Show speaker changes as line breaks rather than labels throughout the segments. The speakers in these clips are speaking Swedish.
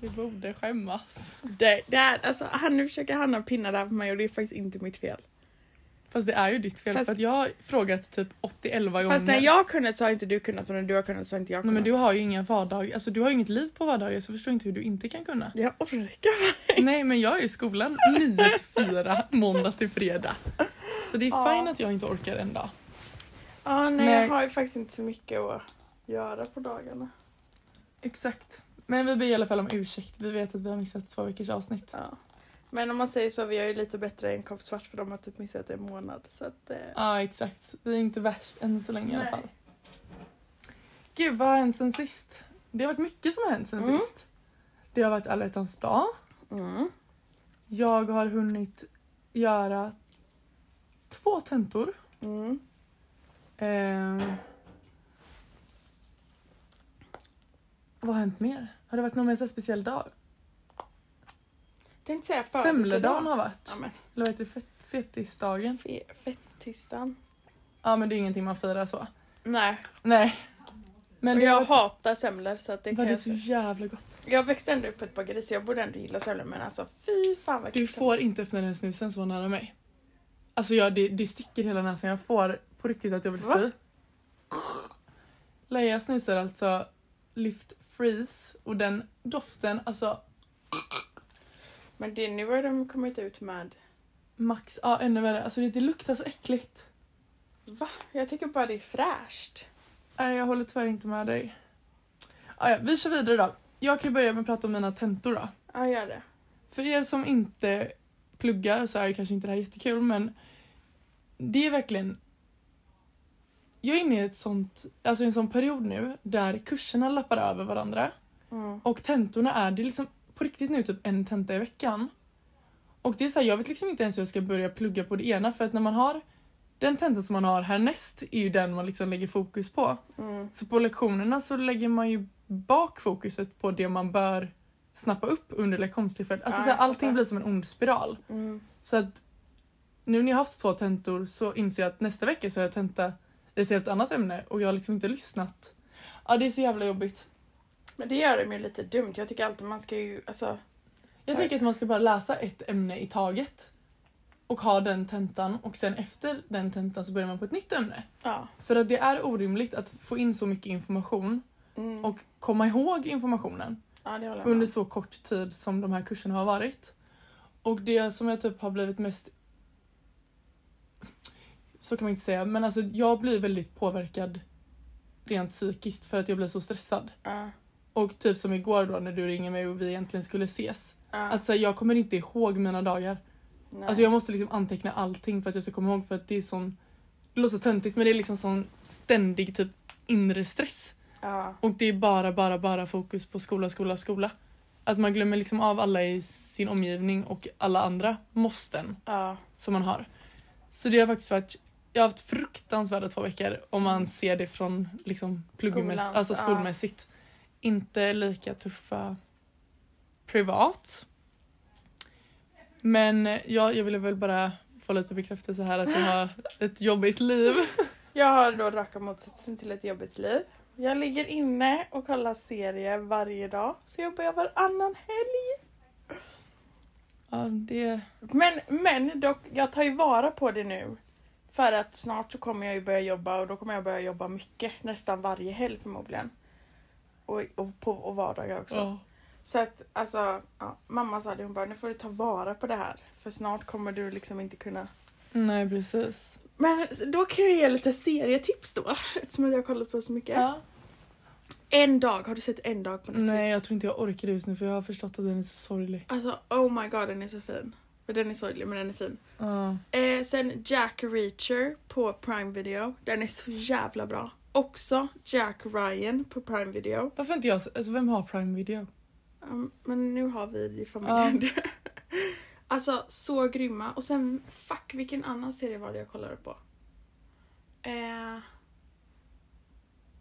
Du borde skämmas.
Det, det är, alltså, han, nu försöker Hanna pinna det här på mig och det är faktiskt inte mitt fel.
Fast det är ju ditt fel
Fast-
för att jag har frågat typ 80-11 gånger.
Fast när jag har kunnat så har inte du kunnat och när du har kunnat så har inte jag
Nej,
kunnat.
men du har ju inga vardag, alltså du har ju inget liv på vardagar så jag förstår inte hur du inte kan kunna.
Jag orkar
Nej men jag är i skolan 9 till 4 måndag till fredag. Så det är
Ja.
fint att jag inte orkar en dag.
Ja, nej,
Nej.
jag har ju faktiskt inte så mycket att göra på dagarna.
Exakt. Men vi ber i alla fall om ursäkt. Vi vet att vi har missat två veckors avsnitt.
Ja. Men om man säger så, vi är ju lite bättre än Kopp Svart för de har typ missat en månad. Så att, eh,
Ja exakt. Vi är inte värst än så länge i alla
Nej.
fall. Gud vad har hänt sen sist? Det har varit mycket som har hänt sen
Mm.
sist. Det har varit alla hjärtans dag.
mm.
Jag har hunnit göra två tentor.
Mm.
Eh, vad har hänt mer? Har det varit någon mer så här speciell dag?
Tänkte säga
Semledagen
födelsedag.
har varit.
Ja, men
Eller vad heter det? Fet- Fetisdagen.
fe- fettisdagen.
Ja men det är ingenting man firar så.
Nej,
Nej. Men
och
det
jag
har varit-
hatar semlor så att det
var
kan
det
jag
så
säga.
jävla gott.
Jag växte ändå upp på ett bageri så jag borde ändå gilla semlor men alltså fy fan vad
Du
äckligt.
får inte öppna den snusen så nära mig. Alltså jag, det, det sticker hela näsan. Jag får på riktigt att jag vill
Va?
fly. Leia snusar alltså Lyft Freeze och den doften, alltså
Men det, nu har de kommit ut med,
max, ja ännu värre. Alltså det, det luktar så äckligt.
va? Jag tycker bara det är fräscht.
Nej, jag håller tyvärr inte med dig. Ah, ja, vi kör vidare då. Jag kan ju börja med att prata om mina tentor då.
Ja, gör det.
För er som inte pluggar så är ju kanske inte det här jättekul men det är verkligen jag är inne i ett sånt, alltså en sån period nu där kurserna lappar över varandra
Mm.
och tentorna är, det är liksom på riktigt nu typ en tenta i veckan. Och det är så här, jag vet liksom inte ens hur jag ska börja plugga på det ena för att när man har den tenta som man har härnäst är ju den man liksom lägger fokus på.
Mm.
Så på lektionerna så lägger man ju bak fokuset på det man bör snappa upp under lektionstillfället. Alltså så
Ja,
här,
jag fattar.
allting blir som en ond spiral.
Mm.
Så att nu när jag har haft två tentor så inser jag att nästa vecka så har jag tenta i ett helt annat ämne och jag har liksom inte lyssnat. Ja, det är så jävla jobbigt.
Men det gör dem ju lite dumt. Jag tycker alltid man ska ju, alltså,
Jag tycker att man ska bara läsa ett ämne i taget och ha den tentan och sen efter den tentan så börjar man på ett nytt ämne.
ja.
För att det är orimligt att få in så mycket information
Mm.
och komma ihåg informationen.
ja, det håller jag med
under
om.
så kort tid som de här kurserna har varit. Och det som jag typ har blivit mest... Så kan man inte säga, men alltså jag blir väldigt påverkad rent psykiskt för att jag blir så stressad.
Ja,
Och typ som igår då när du ringer mig och vi egentligen skulle ses.
ja,
Att säga, jag kommer inte ihåg mina dagar.
nej.
Alltså jag måste liksom anteckna allting för att jag ska komma ihåg för att det är sån... Det låter så töntigt men det är liksom sån ständig typ inre stress.
ja.
Och det är bara, bara, bara fokus på skola, skola, skola. Att man glömmer liksom av alla i sin omgivning och alla andra måsten
Ja.
som man har. Så det har faktiskt varit, jag har haft fruktansvärda två veckor om man ser det från liksom pluggmäss-
Skolan,
alltså
ja.
skolmässigt. Inte lika tuffa privat. Men ja, jag ville väl bara få lite bekräftelse här att jag har ett jobbigt liv.
Jag har då raka motsatsen till ett jobbigt liv. Jag ligger inne och kollar serier varje dag så jag börjar varannan helg.
Ja, det...
Men, men dock, jag tar ju vara på det nu. För att snart så kommer jag ju börja jobba och då kommer jag börja jobba mycket. Nästan varje helg förmodligen. Och, och på och vardagar också.
Ja.
Så att alltså, ja, mamma sa det, hon bara nu får du ta vara på det här. För snart kommer du liksom inte kunna
Nej, precis.
Men då kan jag ge lite serietips då, eftersom att jag har kollat på så mycket.
Ja.
En dag, har du sett en dag på Netflix?
Nej, jag tror inte jag orkar det just nu för jag har förstått att den är så sorglig.
Alltså oh my god den är så fin. För Den är sorglig men den är fin.
Ja.
Eh, sen Jack Reacher på Prime Video. Den är så jävla bra. Också Jack Ryan på Prime Video.
Varför inte jag? Alltså vem har Prime Video?
Um, men nu har vi det i familjen. alltså så grymma. Och sen fuck vilken annan serie var det jag kollade på? Eh...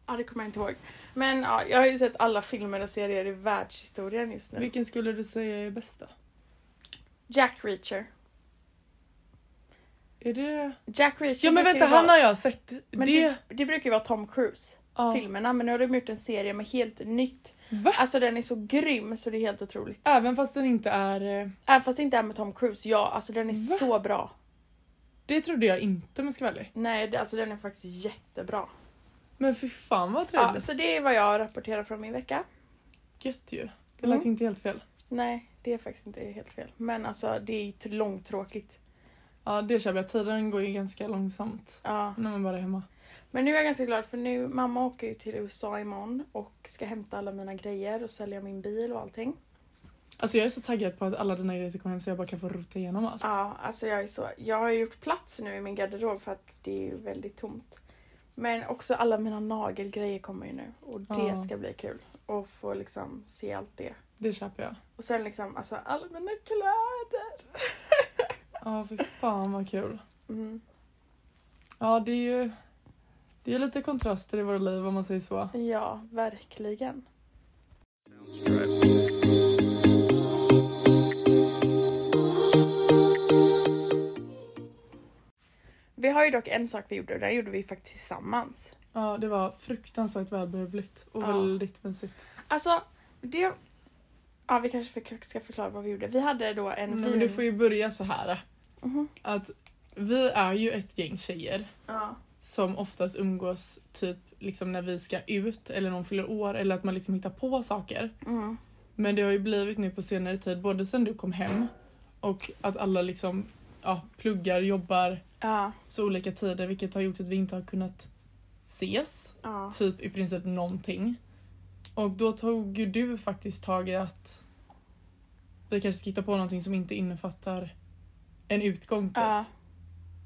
Ja det kommer jag inte ihåg. Men ja, jag har ju sett alla filmer och serier i världshistorien just nu.
Vilken skulle du säga är bästa?
Jack Reacher.
Är det...
Jack Reacher
Ja men
brukar
vänta,
ju vara-
han har jag sett.
men
det...
det... det brukar ju vara Tom Cruise,
ja.
filmerna, men nu har de gjort en serie med helt nytt.
Va?
Alltså den är så grym så det är helt otroligt.
Även fast den inte är... eh,
Även fast det inte är med Tom Cruise, ja alltså den är
Va?
så bra.
Det trodde jag inte men ska vara ärlig.
Nej det, alltså den är faktiskt jättebra.
Men fy fan vad
Ja,
trevligt.
så det är vad jag rapporterar från min vecka.
Gött ju. Det lät
Mm.
inte helt fel.
Nej, det är faktiskt inte helt fel. Men alltså det är ju t- långtråkigt.
Ja det köper jag, tiden går ju ganska långsamt.
Ja.
När man bara är hemma.
Men nu är jag ganska glad för nu, mamma åker ju till USA imorgon och ska hämta alla mina grejer och sälja min bil och allting.
Alltså jag är så taggad på att alla dina grejer ska komma hem så jag bara kan få rota igenom allt.
Ja, alltså jag är så, jag har gjort plats nu i min garderob för att det är ju väldigt tomt. Men också alla mina nagelgrejer kommer ju nu och det
Ja.
ska bli kul. Och få liksom se allt det.
Det köper jag.
Och sen liksom alltså alla mina kläder.
Ja fy fan vad kul.
Mm.
Ja det är ju... Det är ju lite kontraster i våra liv om man säger så.
Ja, verkligen. Vi har ju dock en sak vi gjorde och den gjorde vi faktiskt tillsammans.
Ja det var fruktansvärt välbehövligt och
Ja.
väldigt mysigt.
Alltså, det... Ja, vi kanske för- ska förklara vad vi gjorde. Vi hade då en
Nej,
vin...
men du får ju börja så här.
Mhm.
Att vi är ju ett gäng tjejer
Ja.
som oftast umgås typ liksom när vi ska ut eller någon fyller år eller att man liksom hittar på saker.
Mm.
Men det har ju blivit nu på senare tid, både sen du kom hem och att alla liksom ja, pluggar, jobbar
Ja.
så olika tider vilket har gjort att vi inte har kunnat ses
Ja.
typ i princip någonting. Och då tog ju du faktiskt tag i att vi kanske ska hitta på någonting som inte innefattar en utgång typ.
ja.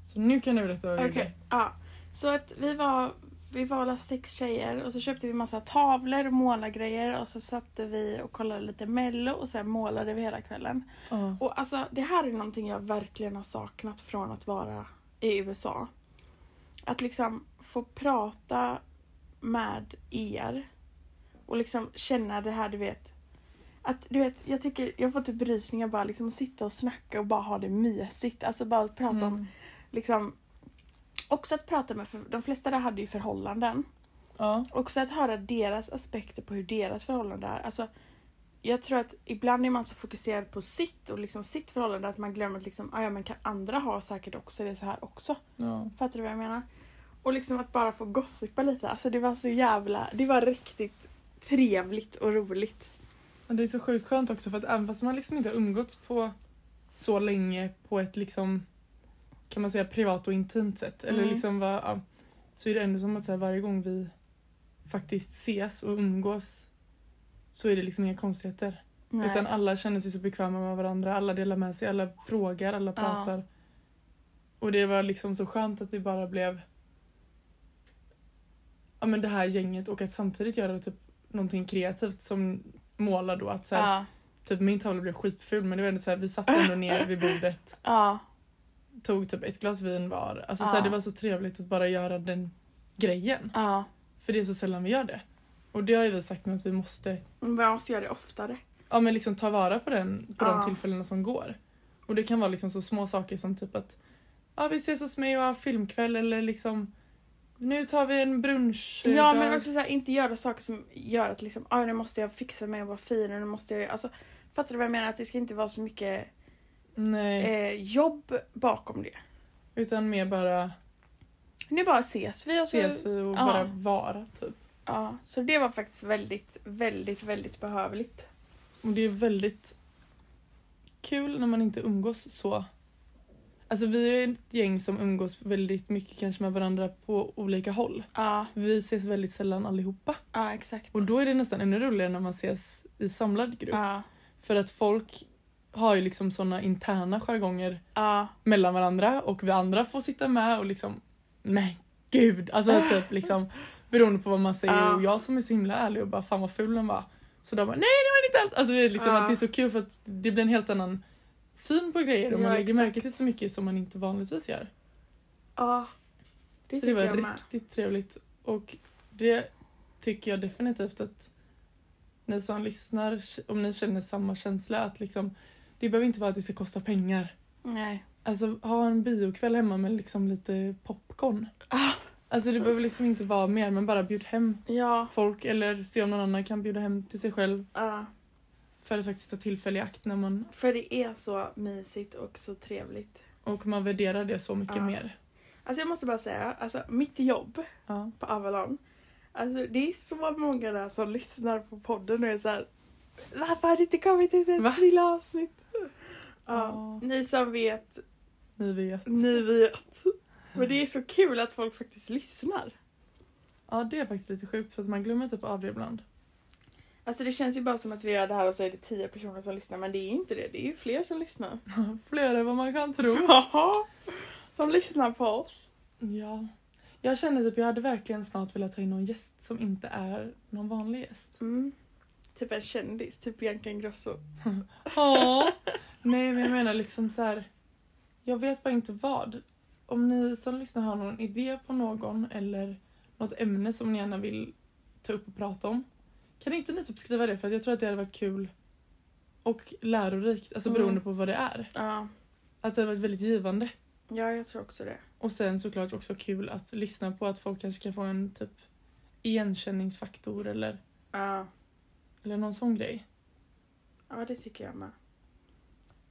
Så nu kan du berätta vad vi
Okej.
gjorde.
Ja. Så att vi var... Vi var alla sex tjejer och så köpte vi massa tavlor och målargrejer och så satte vi och kollade lite mello och sen målade vi hela kvällen.
Ja.
Och alltså det här är någonting jag verkligen har saknat från att vara i USA. Att liksom få prata med er och liksom känna det här du vet. Att du vet, jag tycker jag får typ rysningar bara liksom att sitta och snacka och bara ha det mysigt. Alltså bara att prata om
Mm.
liksom Också att prata med, för de flesta där hade ju förhållanden.
Ja.
Också att höra deras aspekter på hur deras förhållande är. Alltså, jag tror att ibland är man så fokuserad på sitt och liksom sitt förhållande att man glömmer att liksom, "Ah, ja, men kan andra ha säkert också det så här också.
ja.
Fattar du vad jag menar? Och liksom att bara få gossipa lite. Alltså det var så jävla, det var riktigt trevligt och roligt.
Men det är så sjukt skönt också för att även fast man liksom inte har umgåtts på så länge på ett liksom kan man säga privat och intimt sätt. Eller
Mm.
liksom va, ja, så är det ändå som att så här, varje gång vi faktiskt ses och umgås så är det liksom inga konstigheter.
Nej.
Utan alla känner sig så bekväma med varandra, alla delar med sig, alla frågar, alla
Ja.
pratar. Och det var liksom så skönt att det bara blev ja, men det här gänget och att samtidigt göra typ någonting kreativt som målar då. Att så här,
Ja.
typ min tavla blev skitful men det var ändå så här, vi satt ändå ner vid bordet,
Ja.
tog typ ett glas vin var. Alltså så
Ja.
här, det var så trevligt att bara göra den grejen.
Ja.
För det är så sällan vi gör det. Och det har ju vi sagt nu att vi måste
Men jag måste göra det oftare.
ja, men liksom ta vara på, den, på
Ja.
de tillfällena som går. Och det kan vara liksom så små saker som typ att ja, vi ses hos mig och har filmkväll eller liksom nu tar vi en brunch. eh,
Ja
dag."
men också så här, inte göra saker som gör att liksom, ah, nu måste jag fixa mig och vara fin och nu måste jag alltså, Fattar du vad jag menar? Att det ska inte vara så mycket
Nej,
eh, jobb bakom det.
utan mer bara
Nu bara ses vi och så...
ses vi och
ja.
bara vara typ.
Ja, så det var faktiskt väldigt, väldigt, väldigt behövligt.
Och det är väldigt kul när man inte umgås så. Alltså vi är ett gäng som umgås väldigt mycket kanske med varandra på olika håll.
Ja,
Vi ses väldigt sällan allihopa.
ja exakt.
Och då är det nästan ännu roligare när man ses i samlad grupp.
Ja,
För att folk har ju liksom såna interna jargonger
ja,
mellan varandra och vi andra får sitta med och liksom men gud, alltså typ liksom beroende på vad man säger
Ja.
och jag som är så himla ärlig och bara fan vad ful den var. Så de bara nej det var det inte alls. Alltså det är liksom
Ja.
att det är så kul för att det blir en helt annan syn på grejer och
Ja,
man lägger
exakt.
märke till så mycket som man inte vanligtvis gör.
ja. Det
Så det
tycker
var
jag med.
riktigt trevligt och det tycker jag definitivt att ni som lyssnar, om ni känner samma känsla att liksom det behöver inte vara att det ska kosta pengar.
Nej.
Alltså ha en biokväll hemma med liksom lite popcorn.
Ah.
Alltså det behöver liksom inte vara mer men bara bjud hem
Ja,
folk eller se om någon annan kan bjuda hem till sig själv
ja.
för att faktiskt ta tillfällig akt när man
för det är så mysigt och så trevligt.
och man värderar det så mycket
Ja.
mer.
Alltså jag måste bara säga, alltså mitt jobb
Ja.
på Avalon, alltså det är så många där som lyssnar på podden och är såhär Varför har det inte kommit ut
Va?
ett till avsnitt? Ja,
Ja.
ni som vet,
Ni vet.
ni vet. Men det är så kul att folk faktiskt lyssnar.
Ja det är faktiskt lite sjukt för att man glömmer typ av det ibland.
Alltså det känns ju bara som att vi gör det här och så är det tio personer som lyssnar men det är ju inte det, det är ju fler som lyssnar.
Fler än vad man kan tro.
Jaha! Som lyssnar på oss.
Ja. Jag känner typ jag hade verkligen snart velat ta in någon gäst som inte är någon vanlig gäst.
Mm. Typ en kändis, typ Bianca Ingrosso.
Ja. Nej men jag menar liksom så här. Jag vet bara inte vad. Om ni som lyssnar har någon idé på någon eller något ämne som ni gärna vill ta upp och prata om. Kan inte ni typ skriva det för att jag tror att det hade varit kul och lärorikt, alltså beroende
Mm.
på vad det är.
Ja,
Att det hade varit väldigt givande.
ja jag tror också det.
Och sen såklart också kul att lyssna på att folk kanske kan få en typ igenkänningsfaktor eller,
Ja.
eller någon sån grej.
Ja, det tycker jag med.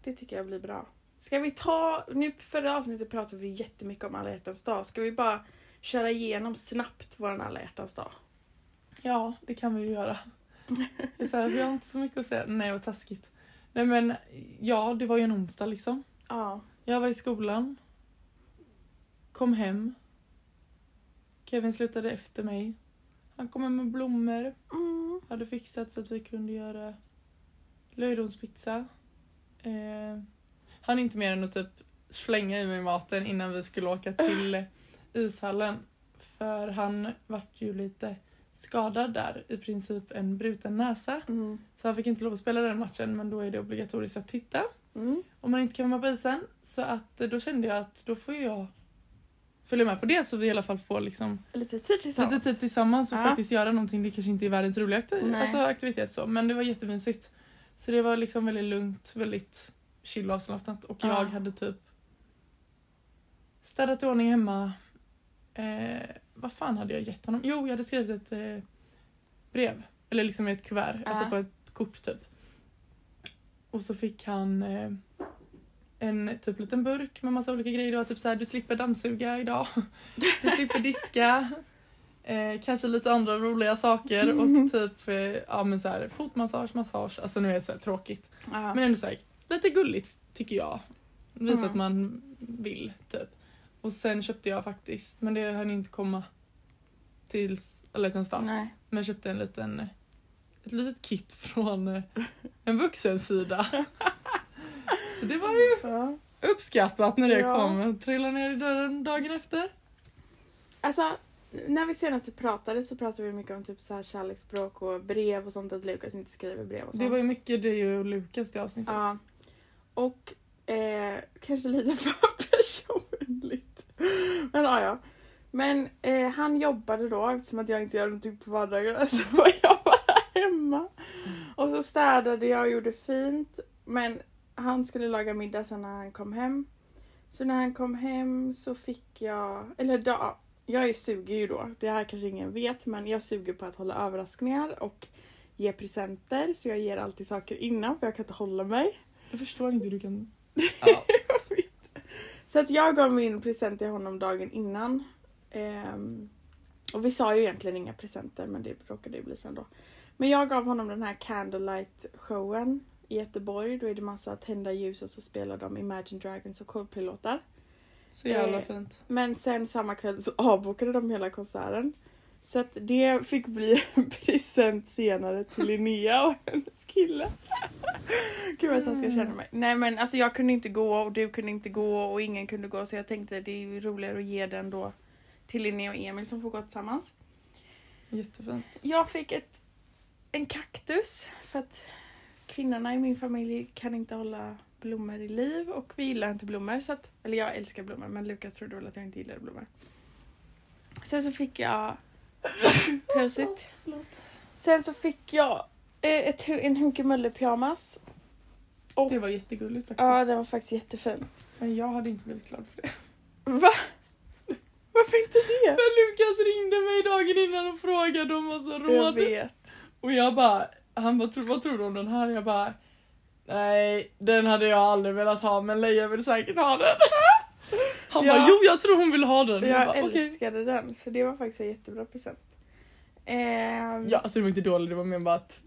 Det tycker jag blir bra. Ska vi ta, nu förra avsnittet pratade vi jättemycket om alla hjärtans dag. Ska vi bara köra igenom snabbt våran alla hjärtans dag?
Ja, det kan vi ju göra. Det är så här, vi har inte så mycket att säga. Nej, vad taskigt. Nej men, ja, det var ju en onsdag liksom.
Ja.
Jag var i skolan. Kom hem. Kevin slutade efter mig. Han kom hem med blommor.
Mm.
Hade fixat så att vi kunde göra löjromspizza. Eh, han är inte mer än att typ slänga i mig maten innan vi skulle åka till ishallen. För han vart ju lite skadad där, i princip en bruten näsa.
Mm.
Så han fick inte lov att spela den matchen men då är det obligatoriskt att titta
Mm.
om man inte kan vara med på isen. Så att eh, då kände jag att då får jag följa med på det så vi i alla fall får liksom
Lite tid tillsammans.
lite tid tillsammans och
Ja.
faktiskt göra någonting. Det kanske inte är världens roligaste
Nej.
alltså, aktivitet så, men det var jättemysigt. Så det var liksom väldigt lugnt, väldigt chill och avslappnat och
Ja.
jag hade typ städat i ordning hemma. Eh, vad fan hade jag gett honom? Jo, jag hade skrivit ett eh, brev, eller liksom ett kuvert,
Ja.
alltså på ett kort typ. Och så fick han eh, en typ liten burk med massa olika grejer. Det var typ så här, du slipper dammsuga idag. Du slipper diska. Eh, kanske lite andra roliga saker och typ eh, ja, men så här, fotmassage, massage. Alltså nu är det så här tråkigt.
Ja.
Men ändå så här, lite gulligt tycker jag. Visa
Mm.
att man vill typ. Och sen köpte jag faktiskt, men det hann inte komma tills alla hjärtans dag.
Nej.
Men jag köpte en liten, ett litet kit från eh, en vuxen sida. Så det var ju
Ja.
uppskattat när det
Ja.
kom. Trillade ner i dörren dagen efter.
Alltså, när vi senast pratade så pratade vi mycket om typ så här kärleksspråk och brev och sånt, att Lukas inte skriver brev och sånt.
Det var ju mycket det och Lukas det avsnittet.
Ja. Och eh, kanske lite för personligt. Men ja, ja. Men eh, han jobbade då eftersom att jag inte gör någonting på vardagarna så var jag bara hemma. Och så städade jag och gjorde fint. Men han skulle laga middag sen när han kom hem. Så när han kom hem så fick jag, eller då, jag är suger ju då. Det här kanske ingen vet men jag suger på att hålla överraskningar och ge presenter så jag ger alltid saker innan för jag kan inte hålla mig.
Jag förstår inte hur du kan... Ja.
Jag vet. så att jag gav min present till honom dagen innan. Ehm, och vi sa ju egentligen inga presenter men det råkade ju bli så ändå. Men jag gav honom den här candlelight showen i Göteborg. Då är det massa tända ljus och så spelar de Imagine Dragons och Coldplay-låtar.
Så jävla
Eh,
fint.
Men sen samma kväll så avbokade de hela konserten. Så att det fick bli en present senare till Linnea och hennes kille. Gud vad taskig jag känner mig. Nej men alltså jag kunde inte gå och du kunde inte gå och ingen kunde gå så jag tänkte det är ju roligare att ge den då till Linnea och Emil som får gå tillsammans.
Jättefint.
Jag fick ett, en kaktus för att kvinnorna i min familj kan inte hålla blommor i liv och vi gillar inte blommor. Så att, eller jag älskar blommor men Lukas trodde väl att jag inte gillade blommor. Sen så fick jag... Prosit.
Förlåt.
Sen så fick jag eh, ett, hu- en hunkemölle pyjamas.
Det var jättegulligt faktiskt.
Ja den var faktiskt jättefin.
Men jag hade inte blivit glad för det.
Va? Varför inte det?
För Lukas ringde mig dagen innan och frågade om massa
Jag
råd.
vet.
Och jag bara, han bara, "Tror- vad tror du om den här? Jag bara, nej, den hade jag aldrig velat ha men Leia vill säkert ha den. Han
Ja.
bara, jo jag tror hon vill ha den. Jag,
Jag
bara, okej.
älskade den så det var faktiskt en jättebra present. Ehm,
Ja, alltså det var inte dåligt, det var mer bara att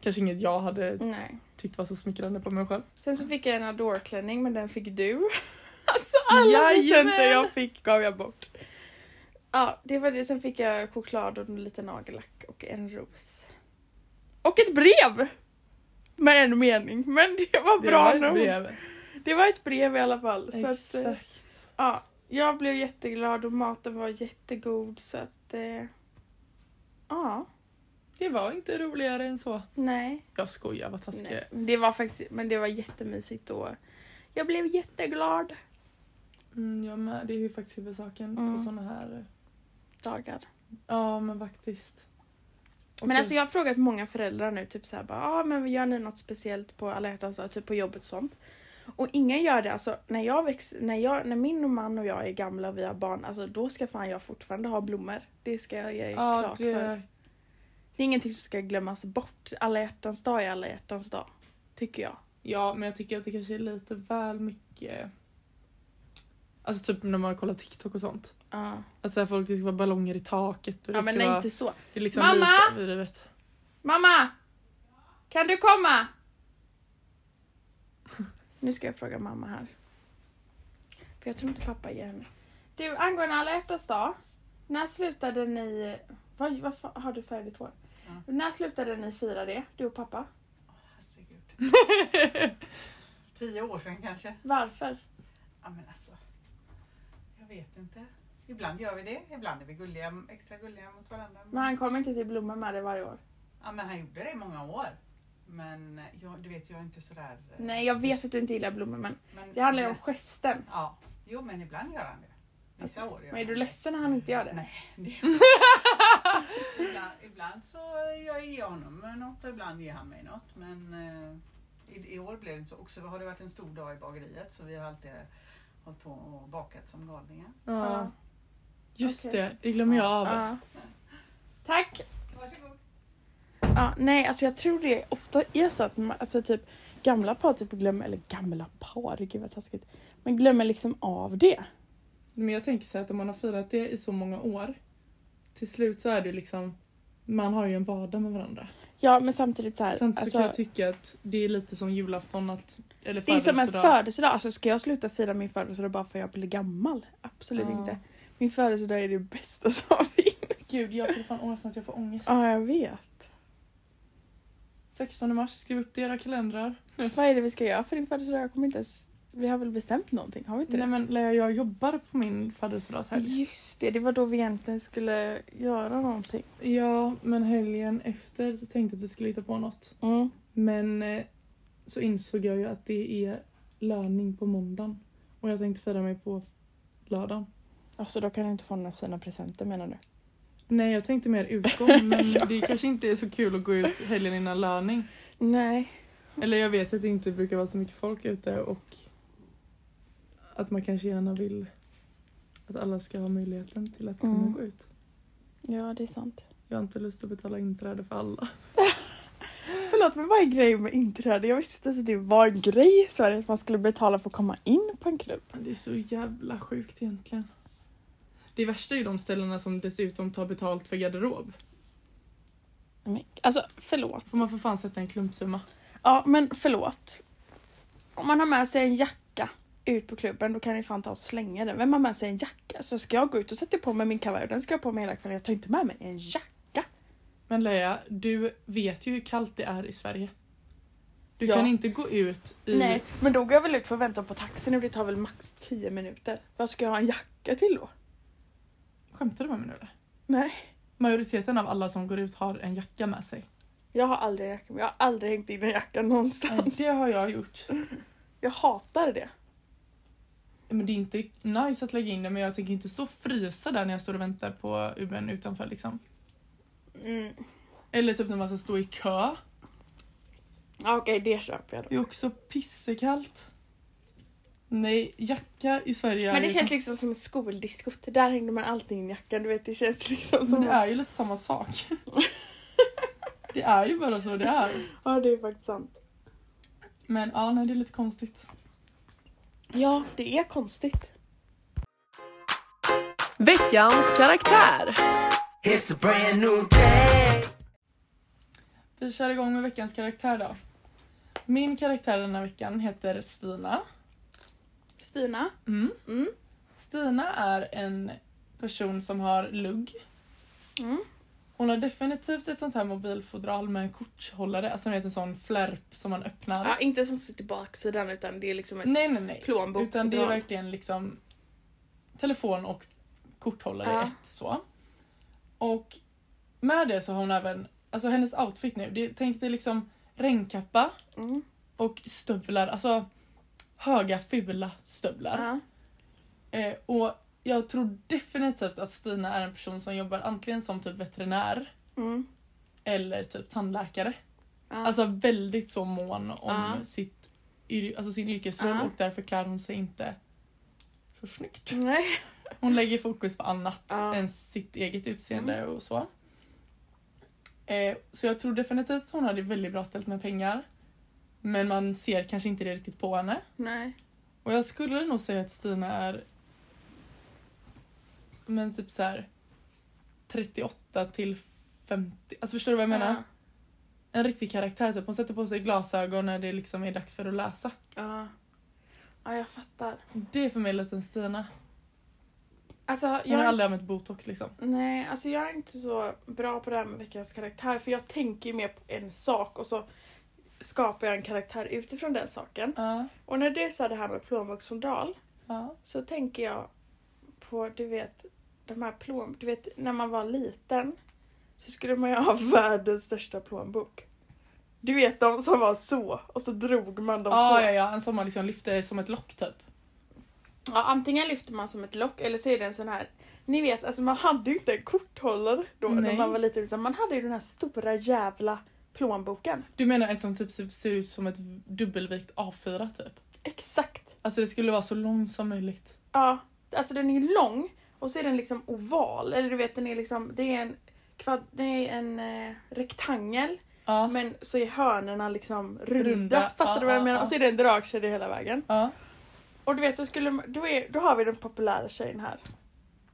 kanske inget jag hade
Nej.
tyckt var så smickrande på mig själv.
Sen så fick jag en adorklänning men den fick du. Alltså alla presenter
Jajamän!
jag fick gav jag bort. Ja, det var det. Sen fick jag choklad och lite nagellack och en ros. Och ett brev! Med en mening, men det var bra
det var ett
nog.
brev.
Det var ett brev i alla fall. Så att, eh,
Exakt.
ja, jag blev jätteglad och maten var jättegod så att... Eh, ja,
Det var inte roligare än så.
nej.
Jag skojar, vad taskig jag
nej.
är.
Det var faktiskt, men det var jättemysigt och jag blev jätteglad.
mm, jag med. Det är ju faktiskt huvudsaken
Mm.
på såna här... eh,
Dagar.
Ja men faktiskt. Och
Men
det-
alltså jag har frågat många föräldrar nu, typ såhär bara, ah, men gör ni något speciellt på alla hjärtans dag, typ på jobbet och sånt? Och ingen gör det, alltså när jag väx, när jag, när min och man och jag är gamla och vi har barn, alltså då ska fan jag fortfarande ha blommor. Det ska jag ge
ja,
klart för.
det,
Det är ingenting som ska glömmas bort. Alla hjärtans dag är alla hjärtans dag. Tycker jag.
ja men jag tycker att det kanske är lite väl mycket... Alltså typ när man kollar TikTok och sånt.
Ja.
Alltså folk det ska vara ballonger i taket och det
ja men
ska
nej,
vara...
inte så.
Det är liksom
Mamma!
lite överdrivet.
Mamma! Kan du komma? Nu ska jag fråga mamma här. För jag tror inte pappa ger henne. Du, angående alla hjärtans dag. När slutade ni... Vad, vad fa- har du färdigt hår?
Ja.
När slutade ni fira det, du och pappa?
Herregud. Tio år sedan kanske.
Varför?
Ja men alltså. Jag vet inte. Ibland gör vi det. Ibland är vi gulliga, extra gulliga mot varandra.
Men han kommer inte till blommor med det varje år.
Ja men han gjorde det i många år. Men jag, du vet jag är inte sådär. eh,
Nej, jag vet att du inte gillar blommor men
Men,
det handlar ju om gesten.
Ja. Jo men ibland gör han det. Vissa år gör
Alltså, Men är du
han
ledsen när han inte gör det?
Nej. det. ibland, ibland så jag ger jag honom något och ibland ger han mig något. Men eh, i, i år blev det inte så. Och så har det varit en stor dag i bageriet så vi har alltid hållit på och bakat som galningar.
Ja.
Ja.
Just
Okej.
det, det glömmer jag av.
Ja. Tack!
Varsågod.
Ja, nej, alltså jag tror det ofta är så att man, alltså typ, gamla par typ glömmer, eller gamla par, gud vad taskigt. Men glömmer liksom av det.
Men jag tänker så här att om man har firat det i så många år. Till slut så är det ju liksom... Man har ju en vardag med varandra.
Ja, men samtidigt så här,
Sen så
alltså,
kan jag tycka att det är lite som julafton att... Eller
det är som en
födelsedag.
födelsedag. Alltså ska jag sluta fira min födelsedag bara för att jag blir gammal? Absolut
Ja.
inte. Min födelsedag är det bästa som finns.
Gud, jag får fan ångest att jag får ångest.
Ja, jag vet.
16 mars, skriv upp det i era kalendrar.
Vad är det vi ska göra för din födelsedag? Jag kommer inte ens... Vi har väl bestämt någonting? Har vi inte
Nej
det?
men Lea, jag jobbar på min födelsedagshelg.
Just det, det var då vi egentligen skulle göra någonting.
Ja, men helgen efter så tänkte jag att vi skulle hitta på något.
Mm.
Men eh, så insåg jag ju att det är löning på måndagen. Och jag tänkte fira mig på lördagen.
Alltså då kan du inte få några fina presenter menar du?
Nej, jag tänkte mer utgång. Men
Ja.
det kanske inte är så kul att gå ut helgen innan löning.
Nej.
Eller jag vet att det inte brukar vara så mycket folk ute och att man kanske gärna vill att alla ska ha möjligheten till att kunna
Mm.
gå ut.
Ja, det är sant.
Jag har inte lust att betala inträde för alla.
Förlåt, men vad är grejen med inträde? Jag visste inte ens att det var en grej i Sverige att man skulle betala för att komma in på en klubb.
Det är så jävla sjukt egentligen. Det värsta är ju de ställena som dessutom tar betalt för garderob.
Men, alltså, förlåt.
Får man för fan sätta en klumpsumma.
Ja, men förlåt. Om man har med sig en jacka ut på klubben, då kan ni fan ta och slänga den. Vem har med sig en jacka? Så ska jag gå ut och sätta på mig min kavaj och den ska jag på mig hela kvällen. Jag tar inte med mig en jacka.
Men Leia, du vet ju hur kallt det är i Sverige. Du
Ja.
kan inte gå ut i...
Nej, men då går jag väl ut för att vänta på taxin och det tar väl max 10 minuter. Vad ska jag ha en jacka till då?
Skämtar du med mig nu eller?
Nej.
Majoriteten av alla som går ut har en jacka med sig.
Jag har aldrig en jacka, jag har aldrig hängt in en jacka
Nej,
någonstans.
det har jag gjort.
Jag hatar det.
Men det är inte nice att lägga in det men jag tänker inte stå och frysa där när jag står och väntar på Ubern utanför liksom.
Mm.
Eller typ när man ska stå i kö.
Ja, Okej, det köper jag då.
Det är också pissekallt. Nej, jacka i Sverige
Men
är
det
ju-
känns liksom som en skoldiskot. Där hängde man alltid i en jacka. Du vet, det känns liksom
Men
som...
det är ju lite samma sak. det är ju bara så det är.
Ja, det är faktiskt sant.
Men ja, nej, det är lite konstigt.
Ja, det är konstigt.
Veckans karaktär.
It's a brand new day.
Vi kör igång med veckans karaktär då. Min karaktär den här veckan heter Stina.
Stina.
Mm.
Mm.
Stina är en person som har lugg.
Mm.
Hon har definitivt ett sånt här mobilfodral med korthållare, alltså ni vet en sån flärp som man öppnar.
Ja, inte som sitter på baksidan utan det är liksom ett
nej, nej, nej.
plånbok.
Utan det är verkligen liksom telefon och korthållare i
Ja.
ett så. Och med det så har hon även, alltså hennes outfit nu, det, tänk dig liksom regnkappa
Mm.
och stövlar, alltså höga fula stövlar.
Ja.
Eh, och jag tror definitivt att Stina är en person som jobbar antingen som typ veterinär
Mm.
eller typ tandläkare.
Ja.
Alltså väldigt så mån om
Ja.
sitt, yr- alltså sin yrkesroll
Ja.
och därför klär hon sig inte så snyggt.
Nej.
Hon lägger fokus på annat
Ja. Mm.
än sitt eget utseende och så. Eh, så jag tror definitivt att hon hade väldigt bra ställt med pengar. Men man ser kanske inte det riktigt på henne.
Nej.
Och jag skulle nog säga att Stina är men typ så här 38 till 50. Alltså förstår du vad jag menar?
Ja.
En riktig karaktär typ. Hon sätter på sig glasögon när det liksom är dags för att läsa.
Ja. Ja, jag fattar.
Det är för mig liten Stina.
Alltså,
Hon har
jag,
aldrig använt botox liksom.
nej, alltså jag är inte så bra på det här med veckans karaktär för jag tänker ju mer på en sak och så skapar jag en karaktär utifrån den saken.
Ja,
Och när du sa det här med plånboksfodral
ja.
så tänker jag på, du vet, de här plån... Du vet, när man var liten så skulle man ju ha världens största plånbok. Du vet de som var så och så drog man dem
Ah,
så.
ja, ja, en som man liksom lyfter som ett lock typ.
Ja, antingen lyfter man som ett lock eller så är det en sån här Ni vet, alltså man hade ju inte en korthållare då när
Nej.
man var liten utan man hade ju den här stora jävla plånboken.
Du menar en som typ ser- ser ut som ett dubbelvikt A4 typ?
Exakt!
Alltså det skulle vara så lång som möjligt.
Ja, alltså den är ju lång och så är den liksom oval, eller du vet den är liksom, det är en, kvad, det är en eh, rektangel
Ja,
men så är hörnorna liksom runda.
Runda,
Fattar
ja,
du vad jag
ja,
menar?
ja.
Och så är det en dragkedja hela vägen.
ja.
Och du vet, då, skulle, då, är, då har vi den populära tjejen här.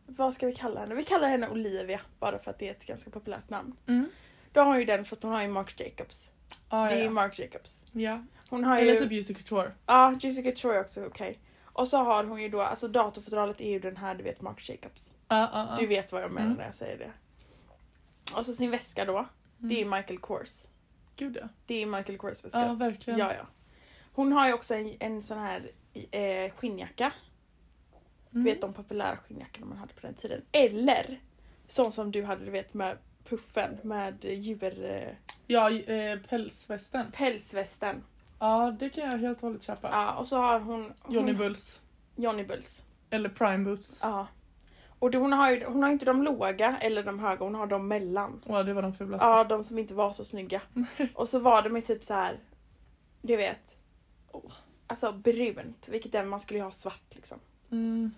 Vad ska vi kalla henne? Vi kallar henne Olivia bara för att det är ett ganska populärt namn.
Mm.
Då har hon ju den fast hon har ju Marc Jacobs.
Ah,
det är
ja,
ju
ja.
Marc Jacobs.
ja.
Hon har
Eller
ju...
typ Jussi Couture.
Ja, Jessica Troy också, okej. Och så har hon ju då, alltså datorfodralet är ju den här du vet Marc Jacobs.
Ja, ja, ja.
Du vet vad jag menar
Mm.
när jag säger det. Och så sin väska då, det är Michael Kors.
Mm. Gud ja.
Det är Michael Kors väska.
Ja,
ja,
verkligen.
ja. Hon har ju också en, en sån här eh, skinnjacka.
Mm.
Du vet de populära skinnjackorna man hade på den tiden. Eller sån som du hade du vet med puffen med djur... Eh,
Ja, eh, pälsvästen.
pälsvästen.
Ja, det kan jag helt och hållet köpa.
Ja, och så har hon... hon
Johnny Bulls.
Johnny Bulls.
Eller Prime Boots.
Ja. Och då, hon har ju hon har inte de låga eller de höga, hon har de mellan.
Ja, det var de fulaste.
Ja, de som inte var så snygga. Och så var de ju typ så här. du vet.
Oh.
Alltså brunt, vilket är, man skulle ju ha svart liksom.
Mm.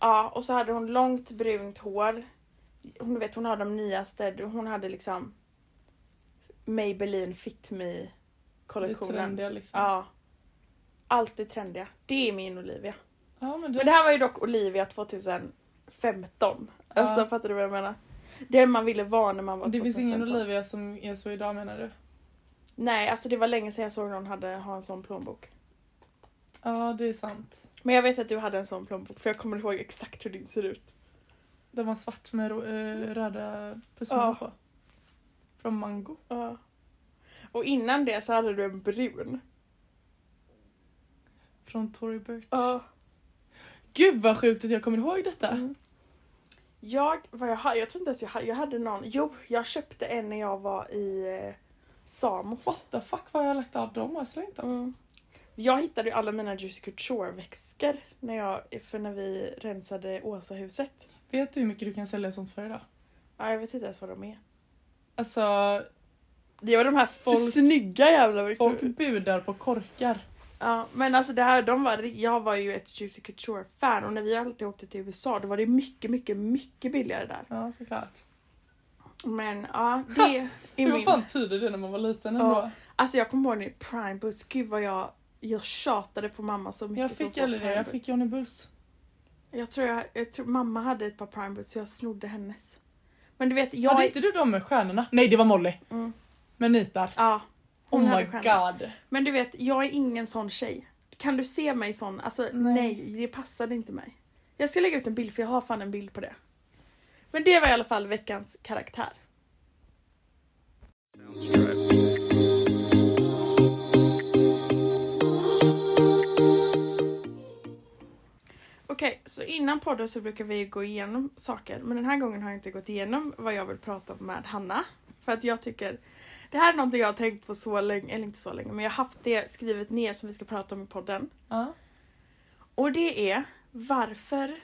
Ja, och så hade hon långt brunt hår. Hon du vet, hon har de nyaste, hon hade liksom Maybelline Fit Me
Det
kollektionen.
trendiga liksom.
Ja. Alltid trendiga. Det är min Olivia.
Ja, men det...
Men det här var ju dock Olivia 2015.
Ja.
Alltså fattar du vad jag menar? Den man ville vara när man var
det finns ingen
2015.
Olivia som är så idag menar du?
Nej, alltså det var länge sedan jag såg någon hade, ha en sån plånbok.
Ja, det är sant.
Men jag vet att du hade en sån plånbok för jag kommer ihåg exakt hur din ser ut.
Den var svart med ro- eh, röda pusslor
Mm. Ja.
på. Från Mango.
Ja. Och innan det så hade du en brun.
Från Tory Burch. Gud vad sjukt att jag kommer ihåg detta.
Mm. Jag, vad jag, ha- jag tror inte ens jag, ha- jag hade någon. Jo, jag köpte en när jag var i eh, Samos.
What the fuck, vad har jag lagt av dem? Har jag slängt dem?
Mm. Jag hittade ju alla mina Juicy Couture-väskor när, jag- för när vi rensade Åsahuset.
Vet du hur mycket du kan sälja sånt för idag?
Ja, jag vet inte ens vad de är.
Alltså,
Det var de här
Folk-
snygga jävla Victoria.
folk budar på korkar.
Ja, men alltså det här, de var, jag var ju ett Juicy Couture-fan och när vi alltid åkte till USA då var det mycket, mycket, mycket billigare där.
Ja, såklart.
Men ja, det är
Det var
min...
fan tider det när man var liten
Ja,
ändå.
Alltså jag kommer ihåg nu, Prime Boots, gud vad jag, jag tjatade på mamma så mycket
jag
för att
fick
få
aldrig det,
Prime
jag
Boots.
fick Johnny Bulls.
Jag tror, jag, jag tror mamma hade ett par Prime Boots så jag snodde hennes. Men du vet, jag...
Hade inte du dem med stjärnorna? Nej, det var Molly.
Mm.
Med nitar.
Ja. hon
Oh
hade
my
stjärnor.
god.
Men du vet, jag är ingen sån tjej. Kan du se mig sån? Alltså nej,
Nej.
det passade inte mig. Jag ska lägga ut en bild för jag har fan en bild på det. Men det var i alla fall veckans karaktär. Okej, så innan podden så brukar vi gå igenom saker. Men den här gången har jag inte gått igenom vad jag vill prata om med Hanna. För att jag tycker det här är någonting jag har tänkt på så länge, eller inte så länge, men jag har haft det skrivet ner som vi ska prata om i podden.
Ja.
Och det är varför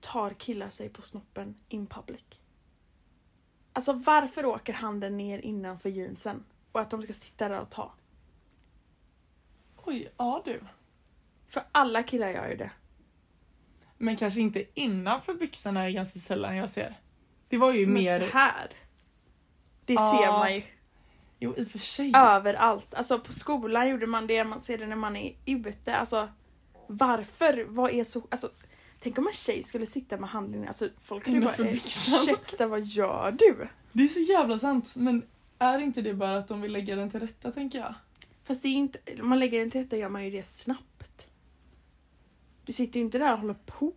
tar killar sig på snoppen in public? Alltså varför åker handen ner innanför jeansen? Och att de ska sitta där och ta.
Oj, ja du.
För alla killar gör ju det.
Men kanske inte innanför byxorna är ganska sällan jag ser. Det var ju
Men
mer...
så här. Det
Ja.
ser man ju
Jo, i och för sig.
överallt. Alltså på skolan gjorde man det, man ser det när man är ute. Alltså varför? Vad är så... Alltså, tänk om en tjej skulle sitta med handen alltså folk skulle bara
Innanför
eh,
byxan.
ursäkta vad gör du?
Det är så jävla sant. Men är inte det bara att de vill lägga den till rätta, tänker jag?
Fast det är inte, man lägger den till rätta gör man ju det snabbt. Du sitter ju inte där och håller på.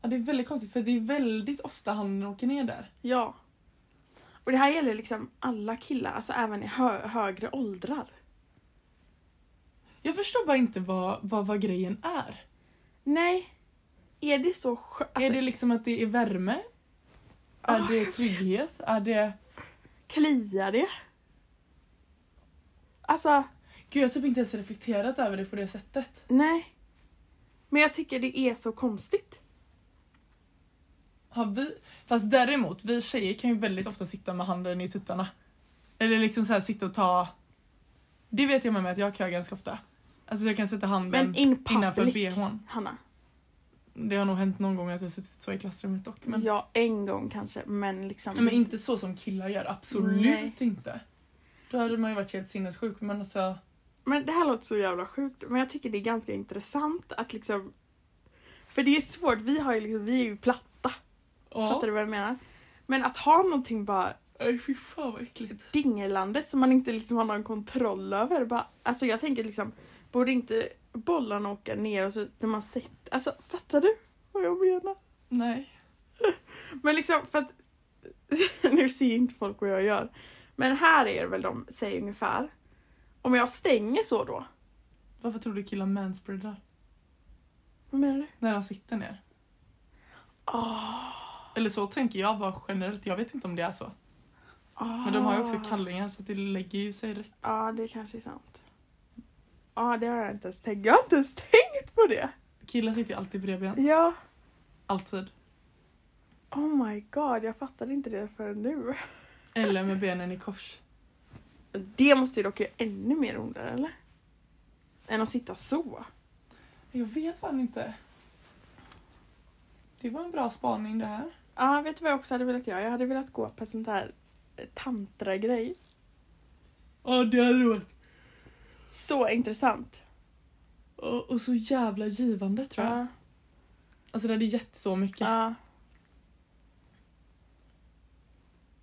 Ja, det är väldigt konstigt för det är väldigt ofta handen åker ner där.
Ja. Och det här gäller liksom alla killar, alltså även i hö, högre åldrar.
Jag förstår bara inte vad, vad, vad grejen är.
Nej. Är det så skö- alltså,
är det liksom att det är värme? Är
Ah.
det trygghet? Är det...
Kliar det? Alltså,
Gud, jag har typ inte ens reflekterat över det på det sättet.
nej. Men jag tycker det är så konstigt.
Har vi... Fast däremot, vi tjejer kan ju väldigt ofta sitta med handen i tuttarna. Eller liksom så här sitta och ta... Det vet jag med mig att jag kan göra ganska ofta. Alltså jag kan sätta handen
Men in
innanför
public,
bhn.
Hanna.
Det har nog hänt någon gång att jag har suttit så i klassrummet dock. Men,
Ja, en gång kanske, men liksom.
Nej, men inte så som killar gör, absolut
Nej.
inte. Då hade man ju varit helt sinnessjuk men alltså...
Men det här låter så jävla sjukt, men jag tycker det är ganska intressant att liksom... För det är svårt, vi, har ju liksom, vi är ju platta,
Ja.
fattar du vad jag menar? Men att ha någonting bara
Nej fy fan vad äckligt.
dingelande som man inte liksom har någon kontroll över. Bara, alltså jag tänker liksom, borde inte bollarna åka ner och så när man sett, alltså fattar du vad jag menar?
Nej.
Men liksom för att, nu ser ju inte folk vad jag gör. Men här är det väl de säger ungefär. Om jag stänger så då,
Varför tror du killar manspreadar?
vad menar du?
När de sitter ner?
Ah,
Eller så tänker jag bara generellt, jag vet inte om det är så. Men de har ju också
ah.
kallingar så det lägger ju sig rätt.
Ja, det kanske är sant. Ja, det har jag inte ens tänkt. Jag har inte ens tänkt på det.
Killar sitter ju alltid bredbent.
Ja.
Alltid.
Oh my god, jag fattade inte det förrän nu.
Eller med benen i kors.
Det måste ju dock göra ännu mer ondare, eller? Än att sitta så.
Jag vet fan inte. Det var en bra spaning det här.
Ja, vet du vad jag också hade velat göra? Jag hade velat gå på en sån här eh, tantra-grej.
Ja det hade varit.
Så intressant.
Och, och så jävla givande tror jag.
Ja,
Alltså det hade gett så mycket.
ja,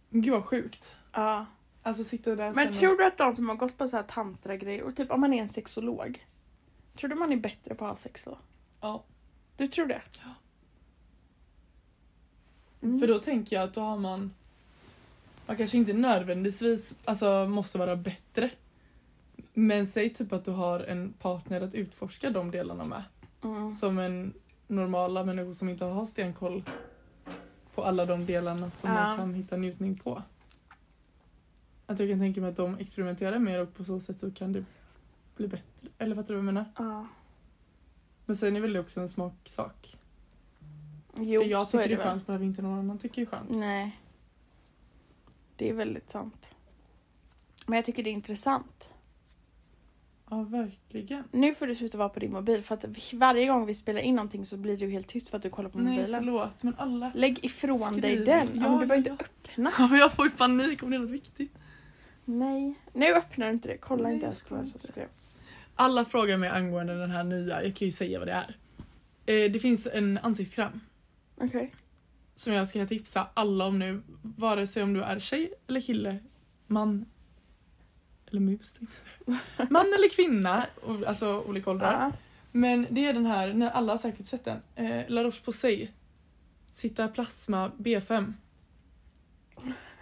Gud vad sjukt.
ja.
Alltså sitta där
Men
sen
tror du att de som har gått på så här tantra-grejer, och typ om man är en sexolog, tror du man är bättre på att ha sex då?
Ja.
Du tror det?
Ja.
Mm.
För då tänker jag att då har man... Man kanske inte nödvändigtvis alltså, måste vara bättre. Men säg typ att du har en partner att utforska de delarna med.
Mm.
Som en normala människor som inte har stenkoll på alla de delarna som
Ja.
man kan hitta njutning på. Att jag kan tänka mig att de experimenterar mer och på så sätt så kan det bli bättre. Eller fattar du vad jag menar?
Ja.
Men sen är väl det också en smaksak.
Jo,
det jag
så
tycker
är det
är
väl.
skönt behöver inte någon annan tycker är skönt.
Nej. Det är väldigt sant. Men jag tycker det är intressant.
Ja, verkligen.
Nu får du sluta vara på din mobil för att varje gång vi spelar in någonting så blir du helt tyst för att du kollar på
Nej,
mobilen.
förlåt, men alla...
Lägg ifrån dig
Skriv.
den. Ja,
Ja,
men du
ja.
behöver inte öppna.
Ja, men jag får ju panik om det är något viktigt.
Nej. Nu öppnar du inte det. Kolla
Nej,
inte
jag
ens på
ska
vad som
inte.
skrev.
Alla frågar mig angående den här nya, jag kan ju säga vad det är. Eh, det finns en ansiktskräm
Okej.
som jag ska tipsa alla om nu. Vare sig om du är tjej eller kille, man eller mus tänkte jag säga. Man eller kvinna, o- alltså olika åldrar.
Ja.
Men det är den här, när alla har säkert sett den, eh, La Roche-Posay. Sitta Plasma B5.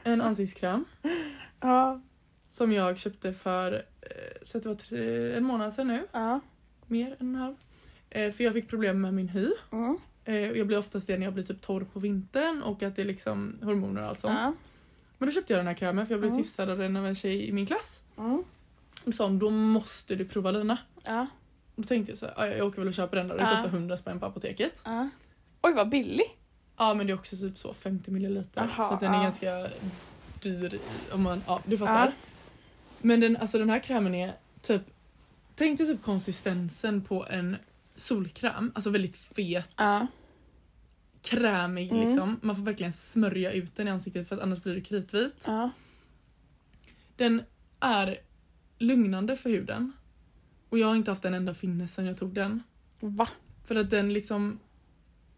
En ansiktskräm
Ja.
som jag köpte för eh, så att det var tre, en månad sedan nu,
Ja.
mer än en halv. Eh, för jag fick problem med min hy.
Mm.
Eh, och jag blir oftast det när jag blir typ torr på vintern och att det är liksom hormoner och allt sånt.
Ja.
Men då köpte jag den här krämen för jag blev
Mm.
tipsad av den av en tjej i min klass.
Mm.
Hon sa då måste du prova denna.
Ja.
Då tänkte jag så här, "Ja, jag åker väl och köper den då, det
Ja.
kostar 100 spänn på apoteket.
Ja. Oj vad billig.
Ja men det är också typ så 50 milliliter
Aha,
så att den
ja.
är ganska dyr i- om man, ja du fattar.
Ja.
Men den, alltså den här krämen är typ, tänk dig typ konsistensen på en solkräm, alltså väldigt fet,
Ja.
krämig
Mm.
liksom. Man får verkligen smörja ut den i ansiktet för att annars blir det kritvit.
Ja.
Den är lugnande för huden. Och jag har inte haft en enda finne sedan jag tog den.
Va?
För att den liksom,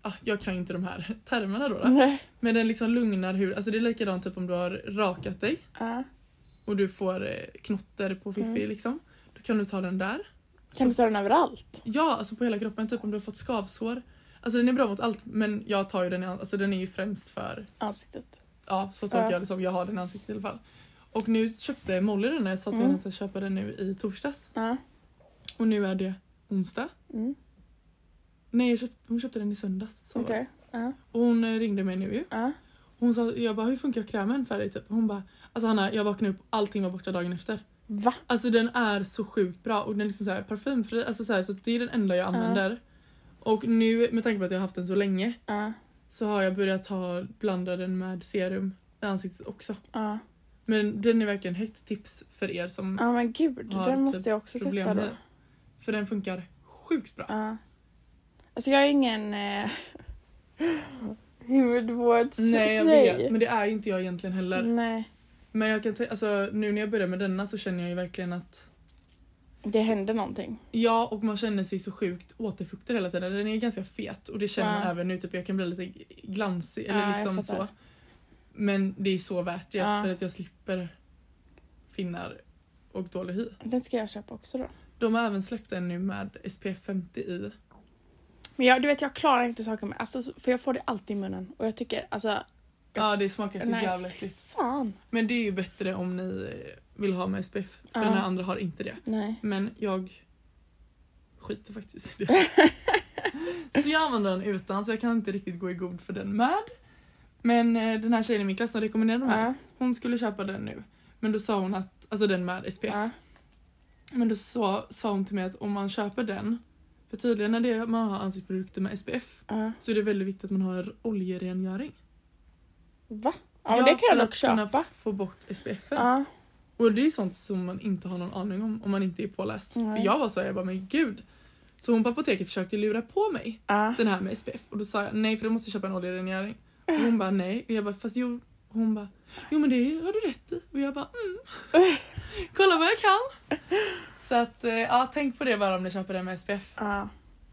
ah, jag kan ju inte de här termerna då. då.
Nej.
Men den liksom lugnar huden. Alltså det är likadant typ om du har rakat dig
Ja.
och du får eh, knotter på fiffi
Mm.
liksom. Då kan du ta den där.
Kan du ta den överallt?
Ja, alltså på hela kroppen. Typ om du har fått skavsår. Alltså den är bra mot allt men jag tar ju den, i an- alltså den är ju främst för,
Ansiktet.
ja så tolkar
Ja.
jag det som. Jag har den i ansiktet i alla fall. Och nu köpte Molly den här så att
Mm.
jag hann inte köpa den nu i torsdags.
Ja.
Och nu är det onsdag.
Mm.
Nej, jag köpt, hon köpte den i söndags. Så var
Okej.
det.
Ja.
Och hon eh, ringde mig nu ju.
Ja.
Hon sa, jag bara hur funkar krämen för dig? Typ. Hon bara, alltså Hanna jag vaknade upp, allting var borta dagen efter.
Va?
Alltså den är så sjukt bra och den är liksom så här parfymfri, alltså så, här, så det är den enda jag använder. Och nu med tanke på att jag har haft den så länge
Ja.
så har jag börjat ha blanda den med serum i ansiktet också.
Ja.
Men den är verkligen hett tips för er som
Ja men gud.
Har
Den
typ
måste jag också testa
problem
då.
med. För den funkar sjukt bra.
Ja. Alltså jag är ingen eh, hudvårdstjej.
Nej jag vet men det är ju inte jag egentligen heller.
Nej,
Men jag kan tä- alltså, nu när jag börjar med denna så känner jag ju verkligen att
det händer någonting.
Ja, och man känner sig så sjukt återfuktad hela tiden. Den är ganska fet och det känner man
Ja.
även nu. Typ, jag kan bli lite glansig eller
Ja, jag
liksom så.
fattar.
Men det är så värt det
Ja.
för att jag slipper finnar och dålig hy.
Den ska jag köpa också då.
De har även släppt en nu med SPF 50 i.
Men jag, du vet jag klarar inte saker med, alltså, så- för jag får det alltid i munnen och jag tycker alltså. jag-
Ja, det smakar så
nej,
jävla
fy
äckligt.
fan.
Men det är ju bättre om ni eh, vill ha med SPF. För
Ja.
den här andra har inte det.
Nej.
Men jag skiter faktiskt i det. så jag använder den utan så jag kan inte riktigt gå i god för den med. Men eh, den här tjejen i min klass som rekommenderade de här,
Ja,
hon skulle köpa den nu. Men då sa hon att, alltså den med SPF.
ja,
Men då sa, sa hon till mig att om man köper den, för tydligen när det är, man har ansiktsprodukter med SPF
ja.
så är det väldigt viktigt att man har en oljerengöring.
Va? Ja, men det kan jag
för
nog
att kunna
köpa.
få bort SPF.
Ja.
Och det är ju sånt som man inte har någon aning om om man inte är påläst.
Nej.
För jag var så här, jag bara men gud. Så hon på apoteket försökte lura på mig
Ja.
den här med SPF och då sa jag nej för då måste jag köpa en oljerengöring. Och hon bara nej och jag bara fast jo. Hon bara jo men det har du rätt i och jag bara mm. Kolla vad jag kan. Så att eh, ja tänk på det bara om ni köper den med SPF.
ja.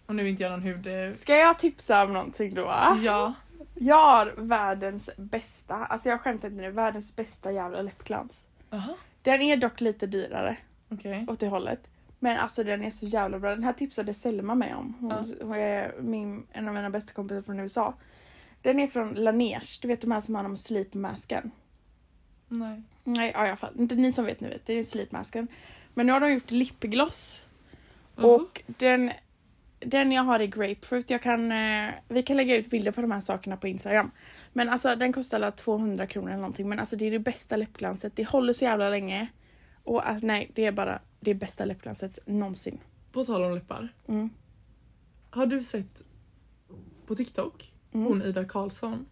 Och nu inte jag någon hud... eh,
Ska jag tipsa om någonting då?
Ja.
Jag har världens bästa, alltså jag skämtar inte nu, världens bästa jävla läppglans.
Jaha
Den är dock lite dyrare.
okej.
åt det hållet. Men alltså den är så jävla bra. Den här tipsade Selma mig om. Hon,
Ja.
hon är min, en av mina bästa kompisar från USA. Den är från Laneige, du vet de här som har de sleepmasken.
Nej.
Nej, ja, i alla fall. Inte ni som vet, ni vet. Det är sleepmasken. Men nu har de gjort lipgloss.
Jaha.
Och den, den jag har är grapefruit. Jag kan, eh, vi kan lägga ut bilder på de här sakerna på Instagram. Men alltså den kostar alla 200 kronor eller någonting. Men alltså det är det bästa läppglanset. Det håller så jävla länge. Och alltså nej, det är bara det bästa läppglanset någonsin.
På tal om läppar.
Mm.
Har du sett på TikTok
Mm.
hon Ida Karlsson?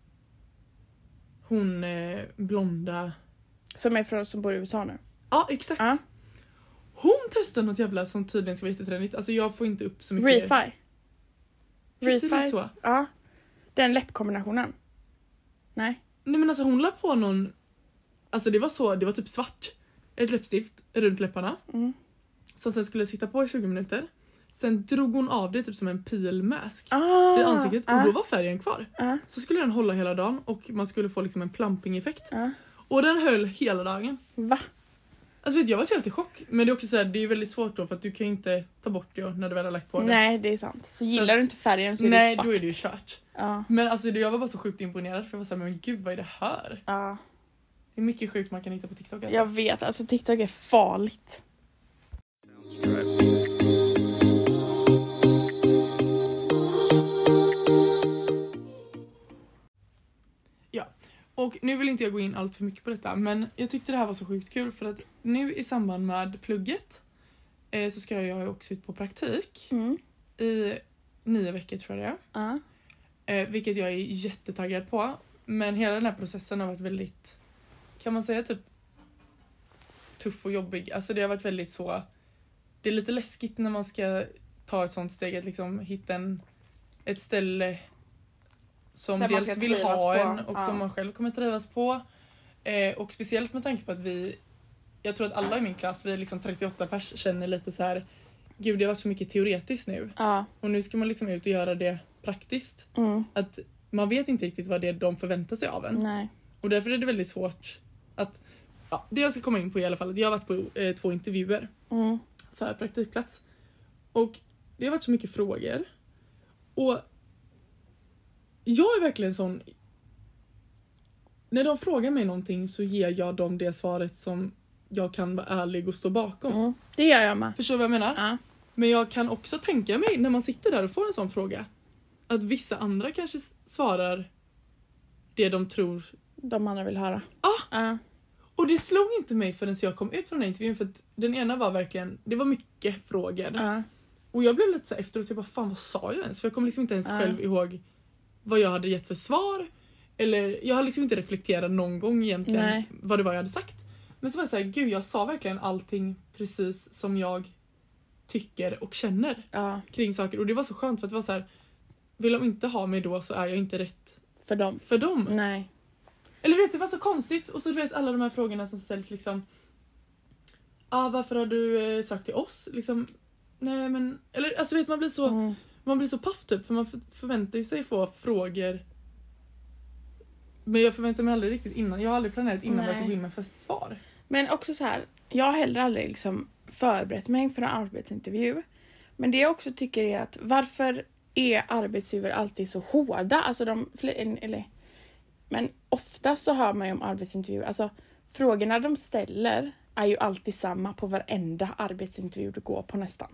Hon eh, blonda
Som är från, som bor i USA nu.
Ja, exakt.
Ja.
Hon testar något jävla som tydligen ska vara jättetrendigt. Alltså jag får inte upp så mycket.
Refi.
Heter det
Refi.
så?
Ja. Den läppkombinationen. Nej.
Nej men alltså hon la på någon, alltså det var så, det var typ svart. Ett läppstift runt läpparna
Mm.
som sen skulle sitta på i 20 minuter. Sen drog hon av det typ som en peelmask
Ah,
i ansiktet och
ja,
då var färgen kvar.
ja,
Så skulle den hålla hela dagen och man skulle få liksom en plumping-effekt.
ja.
Och den höll hela dagen.
Ah. Va?
Alltså vet du, jag var helt i chock. Men det är också så här, det är väldigt svårt då för att du kan ju inte ta bort det när du väl har lagt på det.
Nej det är sant. Så gillar
att-
du inte färgen så är
Nej,
du
då är det ju kört.
Ja.
Men alltså det- jag var bara så sjukt imponerad för jag var såhär, men gud vad är det här?
ja.
Det är mycket sjukt man kan hitta på TikTok alltså.
Jag vet, alltså TikTok är farligt.
Och nu vill inte jag gå in allt för mycket på detta men jag tyckte det här var så sjukt kul för att nu i samband med plugget eh, så ska jag ju också ut på praktik
Mm.
i nio veckor tror jag det är.
Ja.
Eh, vilket jag är jättetaggad på. Men hela den här processen har varit väldigt, kan man säga typ tuff och jobbig. Alltså det har varit väldigt så, det är lite läskigt när man ska ta ett sånt steg att liksom hitta en, ett ställe som
Där man ska
dels vill
trivas
ha
på,
en och
ja.
som man själv kommer trivas på. Eh, och speciellt med tanke på att vi, jag tror att alla i min klass, vi är liksom 38 pers, känner lite så här gud det har varit så mycket teoretiskt nu
Ja.
och nu ska man liksom ut och göra det praktiskt
Mm.
att man vet inte riktigt vad det är de förväntar sig av en.
Nej.
Och därför är det väldigt svårt att... Ja, det jag ska komma in på i alla fall, att jag har varit på eh, två intervjuer
Mm.
för praktikplats. Och det har varit så mycket frågor. Och jag är verkligen sån... När de frågar mig någonting så ger jag dem det svaret som jag kan vara ärlig och stå bakom.
Mm. Det gör jag med.
Förstår du vad jag menar?
Ja.
Men jag kan också tänka mig när man sitter där och får en sån fråga att vissa andra kanske s- svarar det de tror.
De andra vill höra.
Ah.
Ja.
Och det slog inte mig förrän jag kom ut från den här intervjun för att den ena var verkligen, det var mycket frågor.
Ja.
Och jag blev lite så här efteråt, jag bara fan vad sa jag ens? För jag kom liksom inte ens
Ja.
själv ihåg vad jag hade gett för svar. Eller jag har liksom inte reflekterat någon gång egentligen
Nej.
vad det var jag hade sagt. Men så var jag såhär, gud jag sa verkligen allting precis som jag tycker och känner.
Ja.
kring saker och det var så skönt för att det var så här. Vill de inte ha mig då så är jag inte rätt
För dem.
för dem.
Nej.
Eller du vet, det var så konstigt och så du vet alla de här frågorna som ställs liksom. ah, varför har du eh, sökt till oss? Liksom, nej men, eller alltså vet man blir så,
Mm.
man blir så paff typ för man för, förväntar ju sig få frågor. Men jag förväntar mig aldrig riktigt innan, jag har aldrig planerat innan vad jag ska
Nej.
gå in med för svar.
Men också så här, jag har heller aldrig liksom förberett mig för en arbetsintervju. Men det jag också tycker är att varför är arbetsgivare alltid så hårda? Alltså de, fl- en- eller, men ofta så hör man ju om arbetsintervjuer, alltså frågorna de ställer är ju alltid samma på varenda arbetsintervju du går på nästan.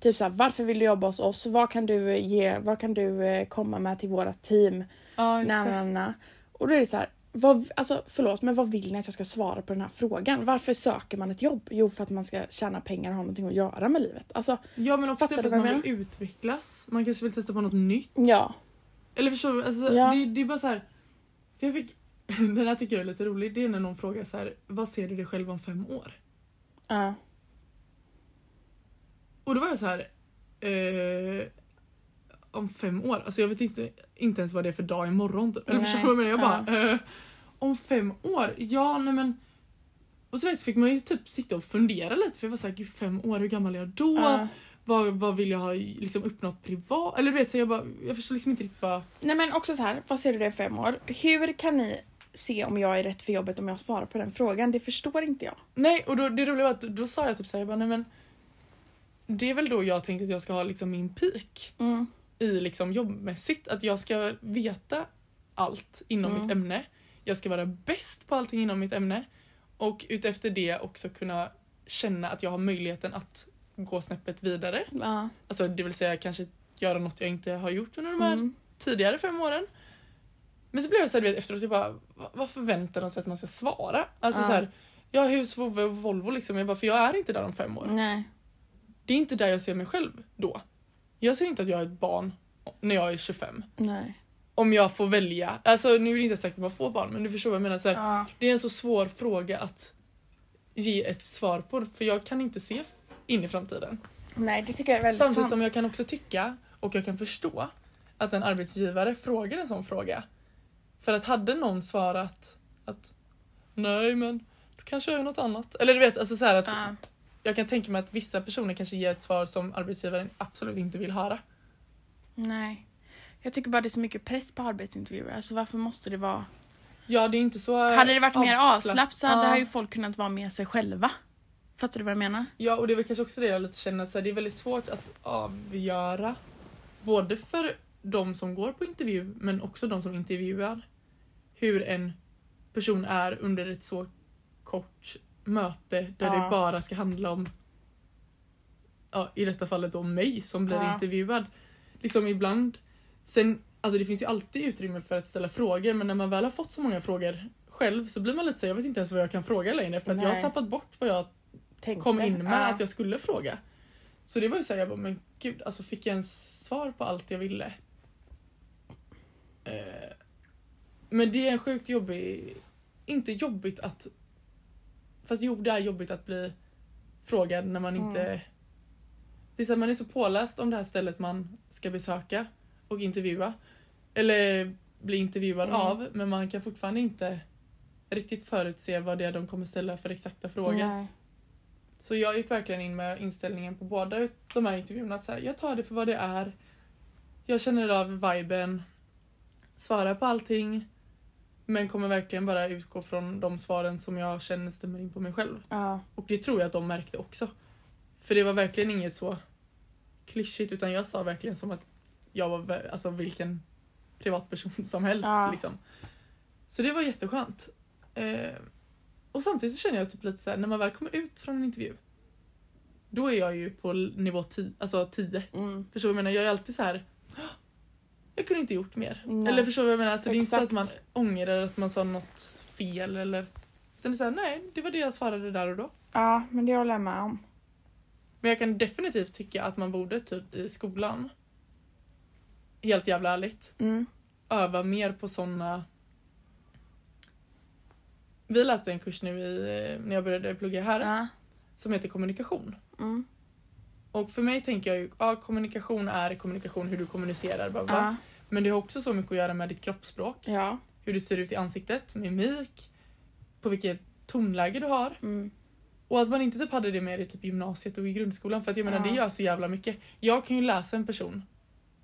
Typ så här, varför vill du jobba hos oss? Vad kan du eh, ge? Vad kan du eh, komma med till våra team?
Ja
na, na,
exakt.
na. Och då är det så här, vad, alltså, förlåt men vad vill ni att jag ska svara på den här frågan? Varför söker man ett jobb? Jo för att man ska tjäna pengar och ha någonting att göra med livet. Alltså,
Ja men ofta
Fattar
för
du
typ att
vad jag
man vill utvecklas, man kanske vill testa på något nytt.
ja.
Eller förstår du? Alltså,
Ja.
det, det är bara så här. För jag fick, den här tycker jag är lite rolig. Det är när någon frågar så här, vad ser du dig själv om fem år?
ja.
Och då var jag så här, eh, om fem år? Alltså jag vet inte, inte ens vad det är för dag imorgon. typ. Eller förstår du vad jag menar? Jag bara, eh, om fem år? Ja, nej men. Och så vet, jag, fick man ju typ sitta och fundera lite för jag var såhär, gud fem år, hur gammal är jag då?
ja.
Vad, vad vill jag ha liksom, uppnått privat? Eller du vet, så jag, bara, jag förstår liksom inte riktigt vad...
Nej men också så här, vad ser du det i fem år? Hur kan ni se om jag är rätt för jobbet om jag svarar på den frågan? Det förstår inte jag.
Nej, och då, det roliga var att då, då sa jag typ såhär, jag bara, nej men det är väl då jag tänkte att jag ska ha liksom min peak i liksom jobbmässigt. Att jag ska veta allt inom
Mm.
mitt ämne. Jag ska vara bäst på allting inom mitt ämne. Och utefter det också kunna känna att jag har möjligheten att gå snäppet vidare.
Ja.
Alltså det vill säga kanske göra något jag inte har gjort under de här
Mm. tidigare.
tidigare fem åren. Men så blev jag så här, du vet, efteråt, jag bara, "Va- vad förväntar de sig att man ska svara? Alltså
Ja.
så här, jag har hus, vovve och Volvo liksom. Jag bara, för jag är inte där om fem år.
Nej.
Det är inte där jag ser mig själv då. Jag ser inte att jag är ett barn när jag är 25.
Nej.
Om jag får välja. Alltså nu är det inte säkert att man får barn men du förstår vad jag menar. Så här,
Ja.
Det är en så svår fråga att ge ett svar på för jag kan inte se in i framtiden.
Nej, det tycker jag är väldigt
Samtidigt
sant.
som jag kan också tycka och jag kan förstå att en arbetsgivare frågar en sån fråga. För att hade någon svarat att nej men du kanske gör något annat. Eller du vet, alltså så här att
Ja.
jag kan tänka mig att vissa personer kanske ger ett svar som arbetsgivaren absolut inte vill höra.
Nej. Jag tycker bara det är så mycket press på arbetsintervjuer. Alltså varför måste det vara...
Ja, det är inte så... eh,
Hade det varit mer
avslapp-
avslapp så hade
Ja.
ju folk kunnat vara med sig själva. Fattar du vad jag menar?
Ja, och det är väl kanske också det jag lite känner att så här, det är väldigt svårt att avgöra. Både för de som går på intervju men också de som intervjuar. Hur en person är under ett så kort möte där
Ja.
det bara ska handla om ja, i detta fallet om mig som blir
Ja.
intervjuad. Liksom ibland. Sen, alltså det finns ju alltid utrymme för att ställa frågor men när man väl har fått så många frågor själv så blir man lite såhär, jag vet inte ens vad jag kan fråga längre för att jag har
Nej.
tappat bort vad jag kom in med
Ja.
att jag skulle fråga. Så det var ju såhär, jag bara men gud, alltså fick jag ens svar på allt jag ville? Eh, men det är en sjukt jobbig, inte jobbigt att, fast jo det är jobbigt att bli frågad när man
Mm.
inte, det är så här, man är så påläst om det här stället man ska besöka och intervjua. Eller bli intervjuad
Mm.
av, men man kan fortfarande inte riktigt förutse vad det är de kommer ställa för exakta frågor.
Nej.
Så jag gick verkligen in med inställningen på båda de här intervjuerna. att Så här, jag tar det för vad det är. Jag känner av viben. Svarar på allting. Men kommer verkligen bara utgå från de svaren som jag känner stämmer in på mig själv.
Ja.
Och det tror jag att de märkte också. För det var verkligen inget så klyschigt utan jag sa verkligen som att jag var vä- alltså, vilken privatperson som helst.
Ja.
Liksom. Så det var jätteskönt. Eh, och samtidigt så känner jag typ lite så här, när man väl kommer ut från en intervju då är jag ju på l- nivå 10, alltså 10.
Mm.
Förstår du vad jag menar? Jag är alltid så här. "Åh, Jag kunde inte gjort mer.
Nej.
Eller förstår du vad jag menar? Alltså, det är inte så att
Exakt.
man ångrar att man sa något fel eller... Utan det är så här, nej, det var det jag svarade där och då.
ja, men det håller jag med om.
Men jag kan definitivt tycka att man borde typ i skolan, helt jävla ärligt,
Mm.
öva mer på såna Vi läste en kurs nu i, när jag började plugga här
Ja.
som heter kommunikation.
Mm.
Och för mig tänker jag ju, ja kommunikation är kommunikation, hur du kommunicerar, bla bla. bla.
Ja.
Men det har också så mycket att göra med ditt kroppsspråk,
Ja.
hur du ser ut i ansiktet, mimik, på vilket tonläge du har.
Mm.
Och att man inte typ hade det med i typ gymnasiet och i grundskolan för att jag menar
Ja.
det gör så jävla mycket. Jag kan ju läsa en person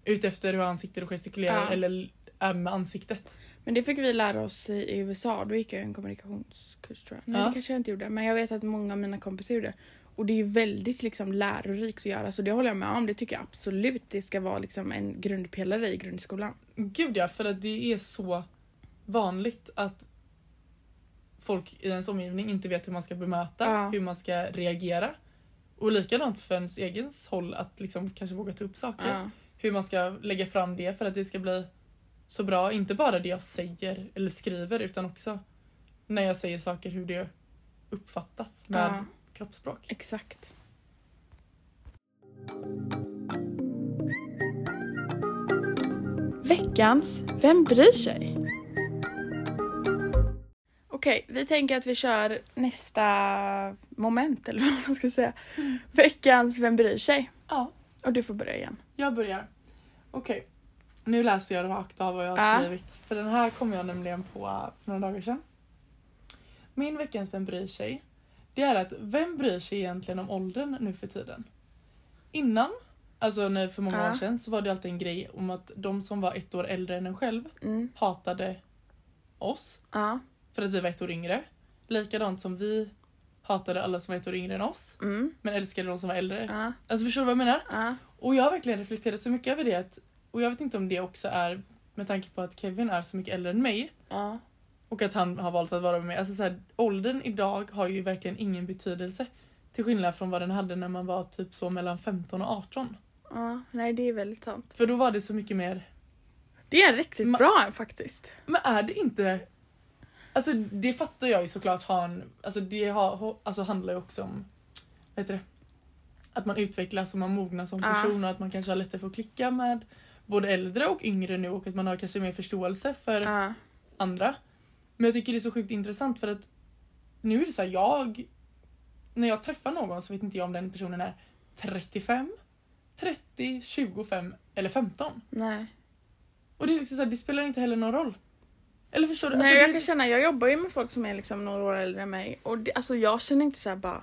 utefter hur han sitter och gestikulerar
Ja.
eller är med ansiktet.
Men det fick vi lära oss i i USA. Då gick jag en kommunikationskurs tror jag. Nej,
Ja.
det kanske jag inte gjorde. Men jag vet att många av mina kompisar gjorde. Och det är ju väldigt liksom lärorikt att göra. Så det håller jag med om. Det tycker jag absolut det ska vara liksom en grundpelare i grundskolan.
Gud ja, för att det är så vanligt att folk i ens omgivning inte vet hur man ska bemöta,
Ja.
hur man ska reagera. Och likadant för ens egens håll att liksom kanske våga ta upp saker.
Ja.
Hur man ska lägga fram det för att det ska bli så bra. Inte bara det jag säger eller skriver utan också när jag säger saker hur det uppfattas med
Ja.
kroppsspråk.
Exakt. Veckans Vem bryr sig? Okej, vi tänker att vi kör nästa moment eller vad man ska säga. Veckans Vem bryr sig?
Ja,
Och du får börja igen.
jag börjar. Okej, nu läser jag rakt av vad jag har
Ja.
skrivit. För den här kom jag nämligen på för några dagar sedan. Min veckans Vem bryr sig? Det är att vem bryr sig egentligen om åldern nu för tiden? Innan, alltså när för många
Ja.
år sedan, så var det alltid en grej om att de som var ett år äldre än en själv
Mm.
hatade oss
Ja.
för att vi var ett år yngre. Likadant som vi hatade alla som var ett år yngre än oss
Mm.
men älskade de som var äldre.
Ja.
Alltså förstår du vad jag menar?
Ja.
Och jag har verkligen reflekterat så mycket över det att, och jag vet inte om det också är med tanke på att Kevin är så mycket äldre än mig
Ja.
och att han har valt att vara med mig. Alltså så här, åldern idag har ju verkligen ingen betydelse till skillnad från vad den hade när man var typ så mellan 15 och 18.
ja. Nej, det är väldigt sant.
För då var det så mycket mer
Det är riktigt
Ma-
bra faktiskt.
Men är det inte... Alltså det fattar jag ju såklart har en... Alltså det har, ho- alltså, handlar ju också om... Vad heter det? Att man utvecklas och man mognar som
Ja.
person och att man kanske har lättare för att klicka med både äldre och yngre nu och att man har kanske mer förståelse för
Ja.
andra. Men jag tycker det är så sjukt intressant för att nu är det så här, jag när jag träffar någon så vet inte jag om den personen är 35, 30, 25 eller 15.
Nej.
Och det är liksom så här, det spelar inte heller någon roll. Eller förstår du?
Nej
Alltså,
jag
det-
kan känna, jag jobbar ju med folk som är liksom några år äldre än mig och det, alltså jag känner inte så här bara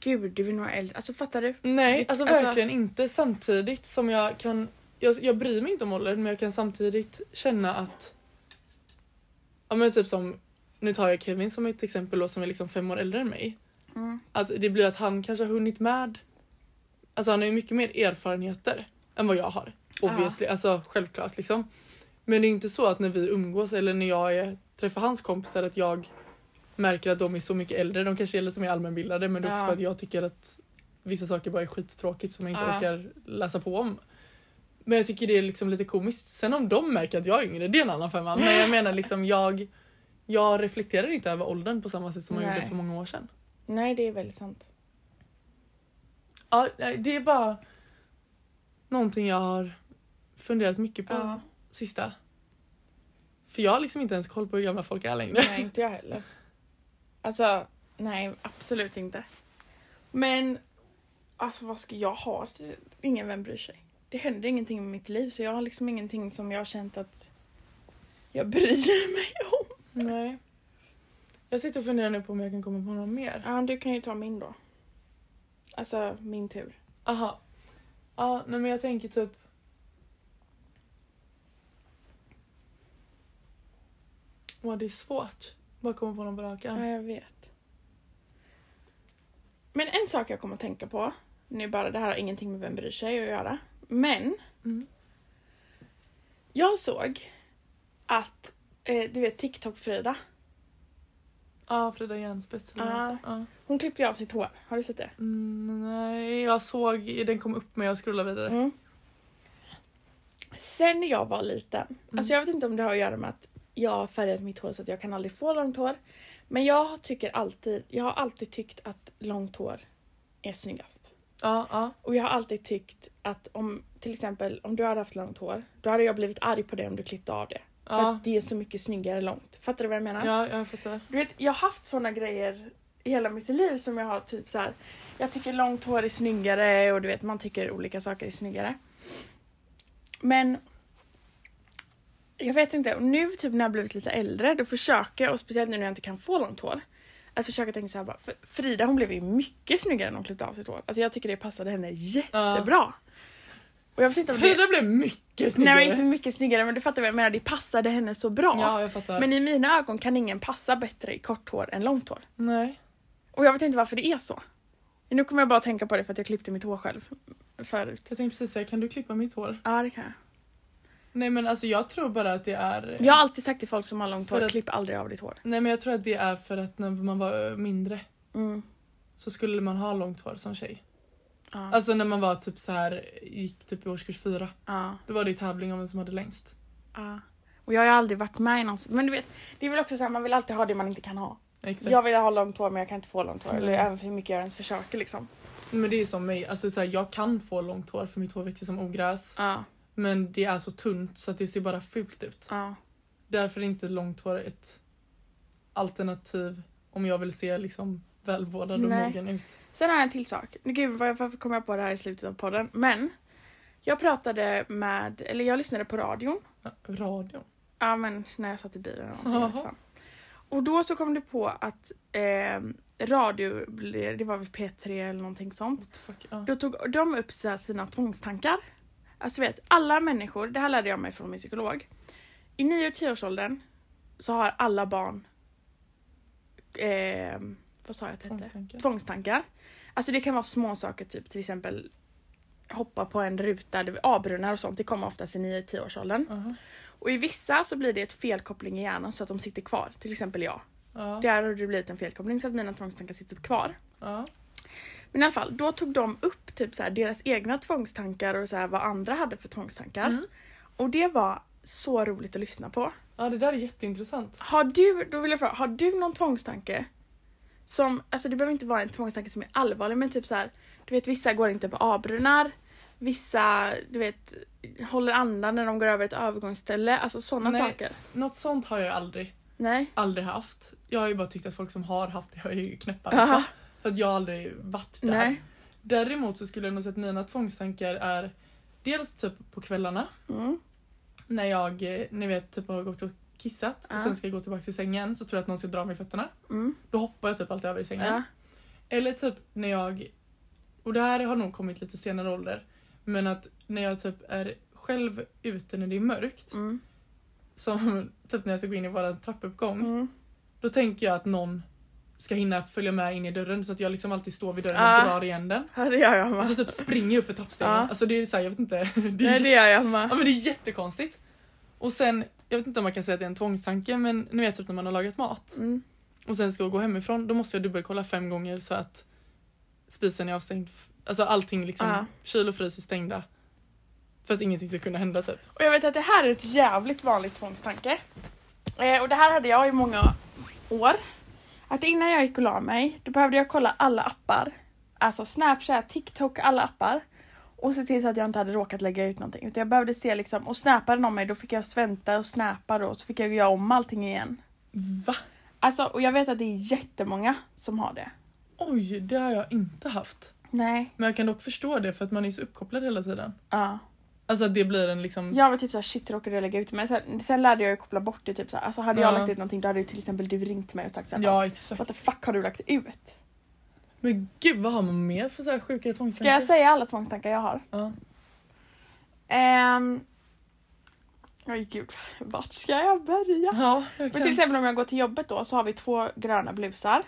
Gud du är några äldre, alltså fattar du?
Nej,
Det-
alltså,
alltså-
verkligen inte. Samtidigt som jag kan... Jag, jag bryr mig inte om åldern, men jag kan samtidigt känna att... Ja men typ som... Nu tar jag Kevin som ett exempel då, som är liksom fem år äldre än mig.
Mm.
Att det blir att han kanske har hunnit med... Alltså han har ju mycket mer erfarenheter än vad jag har. Obviously, alltså självklart liksom. Men det är inte så att när vi umgås eller när jag är, träffar hans kompisar att jag märker att de är så mycket äldre. De kanske är lite mer allmänbildade men det är också
Ja.
för att jag tycker att vissa saker bara är skittråkigt som jag inte
Ja.
orkar läsa på om. Men jag tycker det är liksom lite komiskt. Sen om de märker att jag är yngre, det är en annan femma. Men jag menar liksom jag, jag reflekterar inte över åldern på samma sätt som jag
Nej.
gjorde för många år sedan.
Nej det är väldigt sant.
Ja, nej, det är bara någonting jag har funderat mycket på
Ja.
sista. För jag har liksom inte ens koll på hur gamla folk är längre.
Nej inte jag heller. Alltså nej absolut inte. Men alltså vad ska jag ha? Ingen vän bryr sig. Det händer ingenting med mitt liv så jag har liksom ingenting som jag har känt att jag bryr mig om.
Nej. Jag sitter och funderar nu på om jag kan komma på något mer.
Ja du kan ju ta min då. Alltså min tur.
Aha. Ja, nej men jag tänker typ... Åh, det är svårt. Bara komma på någon på rak
Ja,
arm.
jag vet. Men en sak jag kommer att tänka på, nu bara det här har ingenting med vem bryr sig att göra, men
Mm.
jag såg att, eh, du vet TikTok-Frida,
Ja, Frida Järnspets. eller
Ja.
vad heter. Ja.
hon klippte ju av sitt hår, har du sett det?
Mm, nej, jag såg... Den kom upp men jag scrollade vidare.
Mm. Sen när jag var liten,
Mm.
alltså jag vet inte om det har att göra med att jag har färgat mitt hår så att jag kan aldrig få långt hår, men jag tycker alltid, jag har alltid tyckt att långt hår är snyggast.
Ja, ja.
Och jag har alltid tyckt att om till exempel om du hade haft långt hår, då hade jag blivit arg på dig om du klippte av det. För
Ja.
att det är så mycket snyggare långt. Fattar du vad jag menar?
Ja, jag fattar.
Du vet, jag har haft såna grejer i hela mitt liv som jag har typ så här. Jag tycker långt hår är snyggare och du vet man tycker olika saker är snyggare. Men jag vet inte, och nu typ när jag blivit lite äldre då försöker jag, och speciellt nu när jag inte kan få långt hår, att försöka tänka så här bara, för Frida hon blev ju mycket snyggare när hon klippte av sitt hår. Alltså jag tycker det passade henne jättebra. Och jag vet inte om det...
Frida blev mycket
Nej
snyggare.
men inte mycket snyggare men du fattar vad jag menar, det passade henne så bra.
Ja, jag fattar.
Men i mina ögon kan ingen passa bättre i kort hår än långt hår.
Nej.
Och jag vet inte varför det är så. Nu kommer jag bara tänka på det för att jag klippte mitt hår själv förut.
Jag tänkte precis säga, kan du klippa mitt hår?
Ja det kan jag.
Nej men alltså jag tror bara att det är...
Jag har alltid sagt till folk som har långt
För
hår,
att-
klipp aldrig av ditt hår.
Nej men jag tror att det är för att när man var eh, mindre
Mm.
så skulle man ha långt hår som tjej.
Ja.
Alltså när man var typ så här, gick typ i årskurs fyra.
ja,
Då var det ju tävling om vem som hade längst.
ja. Och jag har ju aldrig varit med i någon Men du vet, det är väl också såhär man vill alltid ha det man inte kan ha.
Exakt.
Jag vill ha långt hår men jag kan inte få långt hår.
Mm.
Eller även för hur mycket jag ens försöker liksom.
Men det är ju som mig, alltså så här, jag kan få långt hår för mitt hår växer som ogräs.
Ja,
Men det är så tunt så att det ser bara fult ut.
ja.
Därför är inte långt hår ett alternativ om jag vill se liksom välvårdad och
Nej.
mogen ut.
Sen har jag en till sak. Nu, Gud, vad- varför kom jag på det här i slutet av podden? Men jag pratade med, eller jag lyssnade på radion.
Ja, Radion?
Ja men när jag satt i bilen eller någonting.
Jaha.
jag vet fan. Och då så kom det på att eh, radio, blev- det var väl P3 eller någonting sånt.
What the fuck? Ja.
Då tog de upp så här sina tvångstankar. Alltså vet, alla människor, det här lärde jag mig från min psykolog. I 9 och 10-årsåldern så har alla barn, eh, vad sa jag att det hette?
Tvångstankar.
tvångstankar. Alltså det kan vara små saker typ till exempel hoppa på en ruta, det- avbrunnar och sånt. Det kommer oftast i 9-10 årsåldern.
Aha.
Och i vissa så blir det ett felkoppling i hjärnan så att de sitter kvar. Till exempel jag.
Ja.
Där har det blivit en felkoppling så att mina tvångstankar sitter kvar.
Ja.
Men i alla fall, då tog de upp typ så här, deras egna tvångstankar och så här, vad andra hade för tvångstankar.
Mm.
Och det var så roligt att lyssna på.
ja, det där är jätteintressant.
Har du, då vill jag fråga, har du någon tvångstanke? Som, alltså det behöver inte vara en tvångstanke som är allvarlig men typ så här, du vet vissa går inte på avbrunnar. Vissa, du vet, håller andan när de går över ett övergångsställe. Alltså sådana
Nej,
saker.
s- Något sånt har jag aldrig,
Nej.
aldrig haft. Jag har ju bara tyckt att folk som har haft det har ju knäppa.
Aha.
Liksom. För För att jag aldrig varit där.
Nej.
Däremot så skulle jag nog säga att mina tvångstankar är dels typ på kvällarna
Mm.
när jag, eh, ni vet, typ har gått och kissat och
Ja.
sen ska jag gå tillbaka till sängen så tror jag att någon ska dra mig i fötterna.
Mm.
Då hoppar jag typ alltid över i sängen.
Ja.
Eller typ när jag, och det här har nog kommit lite senare ålder, men att när jag typ är själv ute när det är mörkt,
Mm.
som typ när jag ska gå in i vår trappuppgång,
Mm.
då tänker jag att någon ska hinna följa med in i dörren så att jag liksom alltid står vid dörren
Ah.
och drar igen den.
Ja, det gör jag
Och så
med.
typ springer jag upp för trappstegen.
Ah.
Alltså det är såhär, jag vet inte. Det är
Nej, det gör jag
Ja
med.
men det är jättekonstigt. Och sen, jag vet inte om man kan säga att det är en tvångstanke men ni vet typ när man har lagat mat
Mm.
och sen ska jag gå hemifrån då måste jag dubbelkolla fem gånger så att spisen är avstängd. Alltså allting liksom,
Ja.
kyl och frys är stängda. För att ingenting ska kunna hända typ.
Och jag vet att det här är ett jävligt vanligt tvångstanke. Eh, och det här hade jag i många år. Att innan jag gick och la mig, då behövde jag kolla alla appar. Alltså Snapchat, TikTok, alla appar. Och se till så att jag inte hade råkat lägga ut någonting. Utan jag behövde se liksom, och snappade någon mig då fick jag vänta och snappa då. Så fick jag göra om allting igen.
Va?
Alltså, och jag vet att det är jättemånga som har det.
Oj, det har jag inte haft.
Nej.
Men jag kan dock förstå det för att man är så uppkopplad hela tiden.
Ja.
Alltså att det blir en liksom...
Jag var typ såhär shit råkade jag lägga ut men sen, sen lärde jag ju koppla bort det typ såhär. Alltså hade jag
Ja.
lagt ut någonting då hade ju till exempel du ringt mig och sagt såhär
Ja, exakt.
What the fuck har du lagt ut?
Men gud vad har man mer för så här sjuka tvångstankar?
Ska jag säga alla tvångstankar jag har?
Ja.
Ehm... Oj gud, vart ska jag börja?
Ja, jag
Men
kan.
till exempel om jag går till jobbet då så har vi två gröna blusar.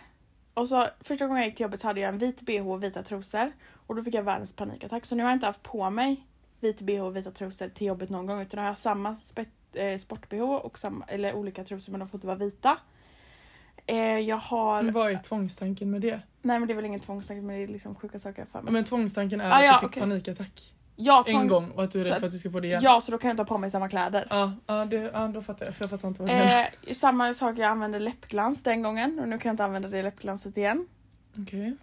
Och så första gången jag gick till jobbet så hade jag en vit bh och vita trosor. Och då fick jag världens panikattack. Så nu har jag inte haft på mig vit bh och vita trosor till jobbet någon gång. Utan nu har jag samma spett- eh, sport-bh och samma, eller olika trosor men de får inte vara vita. Eh, jag har...
Men vad är tvångstanken med det?
Nej men det är väl ingen tvångstanke men det är liksom sjuka saker för
Ja,
mig.
men tvångstanken är
Ah,
att
ja,
du fick
okej.
panikattack
Jag
en gång och att du är
Så
rädd
att-
för att du ska få det igen. Ja,
Ja, så då kan jag inte ha på mig samma kläder.
ja, det, ja då fattar jag. För jag fattar inte vad du menar.
Eh, samma sak, jag använde läppglans den gången och nu kan jag inte använda det läppglanset igen.
Okej.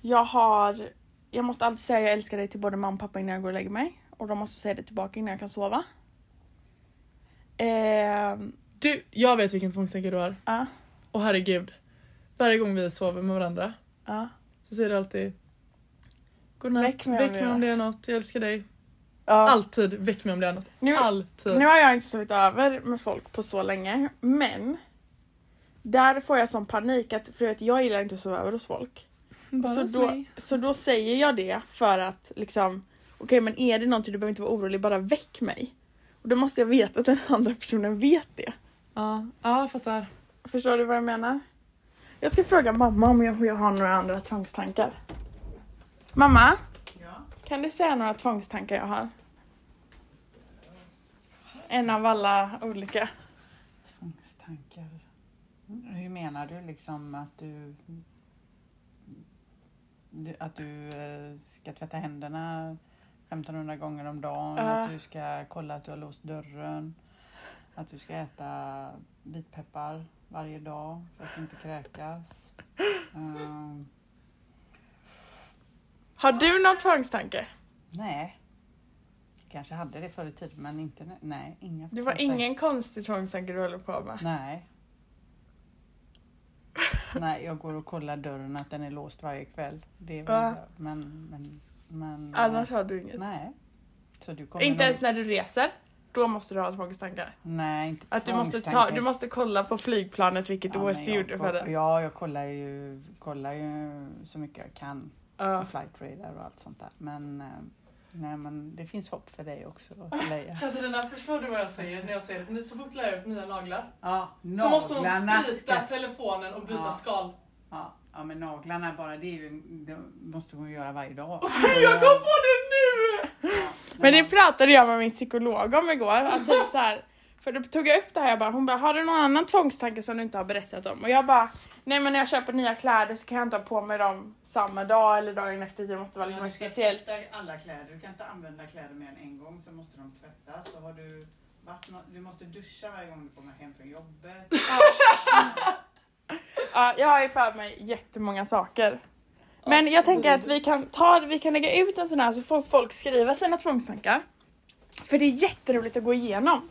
Jag har... Jag måste alltid säga jag älskar dig till både mamma och pappa innan jag går och lägger mig. Och de måste säga det tillbaka innan jag kan sova. Eh,
Du, jag vet vilken tvångstanke du har.
Ja.
Och herregud. Varje gång vi sover med varandra
ja.
så säger du alltid Godnatt, väck
Väck mig
mig,
om
väck
det
mig
är-
om det är något, jag älskar dig.
Ja.
Alltid, väck mig om det är något.
Nu,
Alltid.
nu har jag inte sovit över med folk på så länge, men där får jag sån panik att för du vet, jag gillar inte att sova över hos folk.
Bara
Så
hos
då,
mig.
så då säger jag det för att liksom, okej men är det någonting du behöver inte vara orolig, bara väck mig. Och då måste jag veta att den andra personen vet det.
Ja, ja, jag fattar.
Förstår du vad jag menar? Jag ska fråga mamma om jag, jag har några andra tvångstankar. Mamma,
Ja.
kan du säga några tvångstankar jag har? En av alla olika.
Tvångstankar. Mm, Hur menar du liksom att du du- att du eh, ska tvätta händerna 1500 gånger om dagen,
Ja.
att du ska kolla att du har låst dörren, att du ska äta vitpeppar varje dag för att inte kräkas. Ehm,
Har du någon tvångstanke?
nej, kanske hade det förr i tiden men inte nu. Nej, inga
Det var
tvångstankar.
ingen konstig tvångstanke du håller på med.
Nej. Nej, jag går och kollar dörren att den är låst varje kväll. Det är väl,
Ja.
men, men, men...
Annars har du inget.
Nej. Så du kommer
Inte
nog-
ens när du reser. Då måste du ha tvångstankar.
Nej, inte
Att du måste, ta,
tvångstankar.
du måste kolla på flygplanet vilket
Ja,
OS
men
du
jag
gjorde för
koll-
det.
Ja, jag kollar ju, kollar ju så mycket jag kan.
Ja.
Och flight radar och allt sånt där. Men, eh, nej, men det finns hopp för dig också,
Ah.
Leia.
Katarina, förstår du vad jag säger när jag säger att ni så fort lär jag ut nya naglar
Ja,
så måste hon
naglarna
sprita telefonen och byta
Ja.
skal.
Ja, ja, men naglarna bara, det, är ju, det måste hon göra varje dag.
Jag kom på det nu! Men det pratade jag med min psykolog om igår. Att typ så här, för då tog jag upp det här, jag bara, hon bara, har du någon annan tvångstanke som du inte har berättat om? Och jag bara, nej men när jag köper nya kläder så kan jag inte ha på mig dem samma dag eller dagen efter. Det måste vara liksom
du
ett
ska
speciellt.
tvätta alla kläder. Du kan inte använda kläder mer än en gång, så måste de tvättas. Så har du, varit nå- du måste duscha varje gång du kommer hem från jobbet.
Ja, jag har ju för mig jättemånga saker. Men jag tänker att vi kan, ta, vi kan lägga ut en sån här så får folk skriva sina tvångstankar. För det är jätteroligt att gå igenom.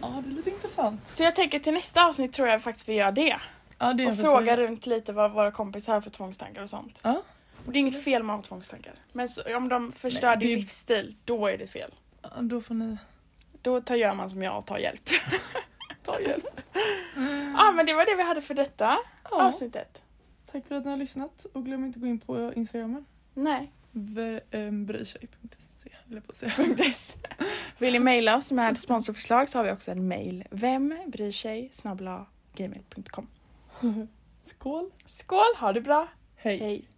Ja, det är lite intressant.
Så jag tänker till nästa avsnitt tror jag faktiskt vi gör det.
Ja, Ja, det är
Och
för-
fråga runt lite vad våra kompisar har för tvångstankar och sånt.
Ja.
Och det är inget fel med att ha tvångstankar. Men så, om de förstör
Nej,
din
det-
livsstil, då är det fel.
Ja, Då får ni...
Då tar, gör man som jag och tar hjälp.
Ta hjälp.
Ja men det var det vi hade för detta
Ja.
avsnittet.
Tack för att ni har lyssnat och glöm inte att gå in på Instagramen.
Nej.
V- ehm, Brytjej.se höll jag på att säga.
.s. Vill ni mejla oss med sponsorförslag så har vi också en mejl. Vem bryr sig? snabela gmail.com.
Skål!
Skål, ha det bra! Hej!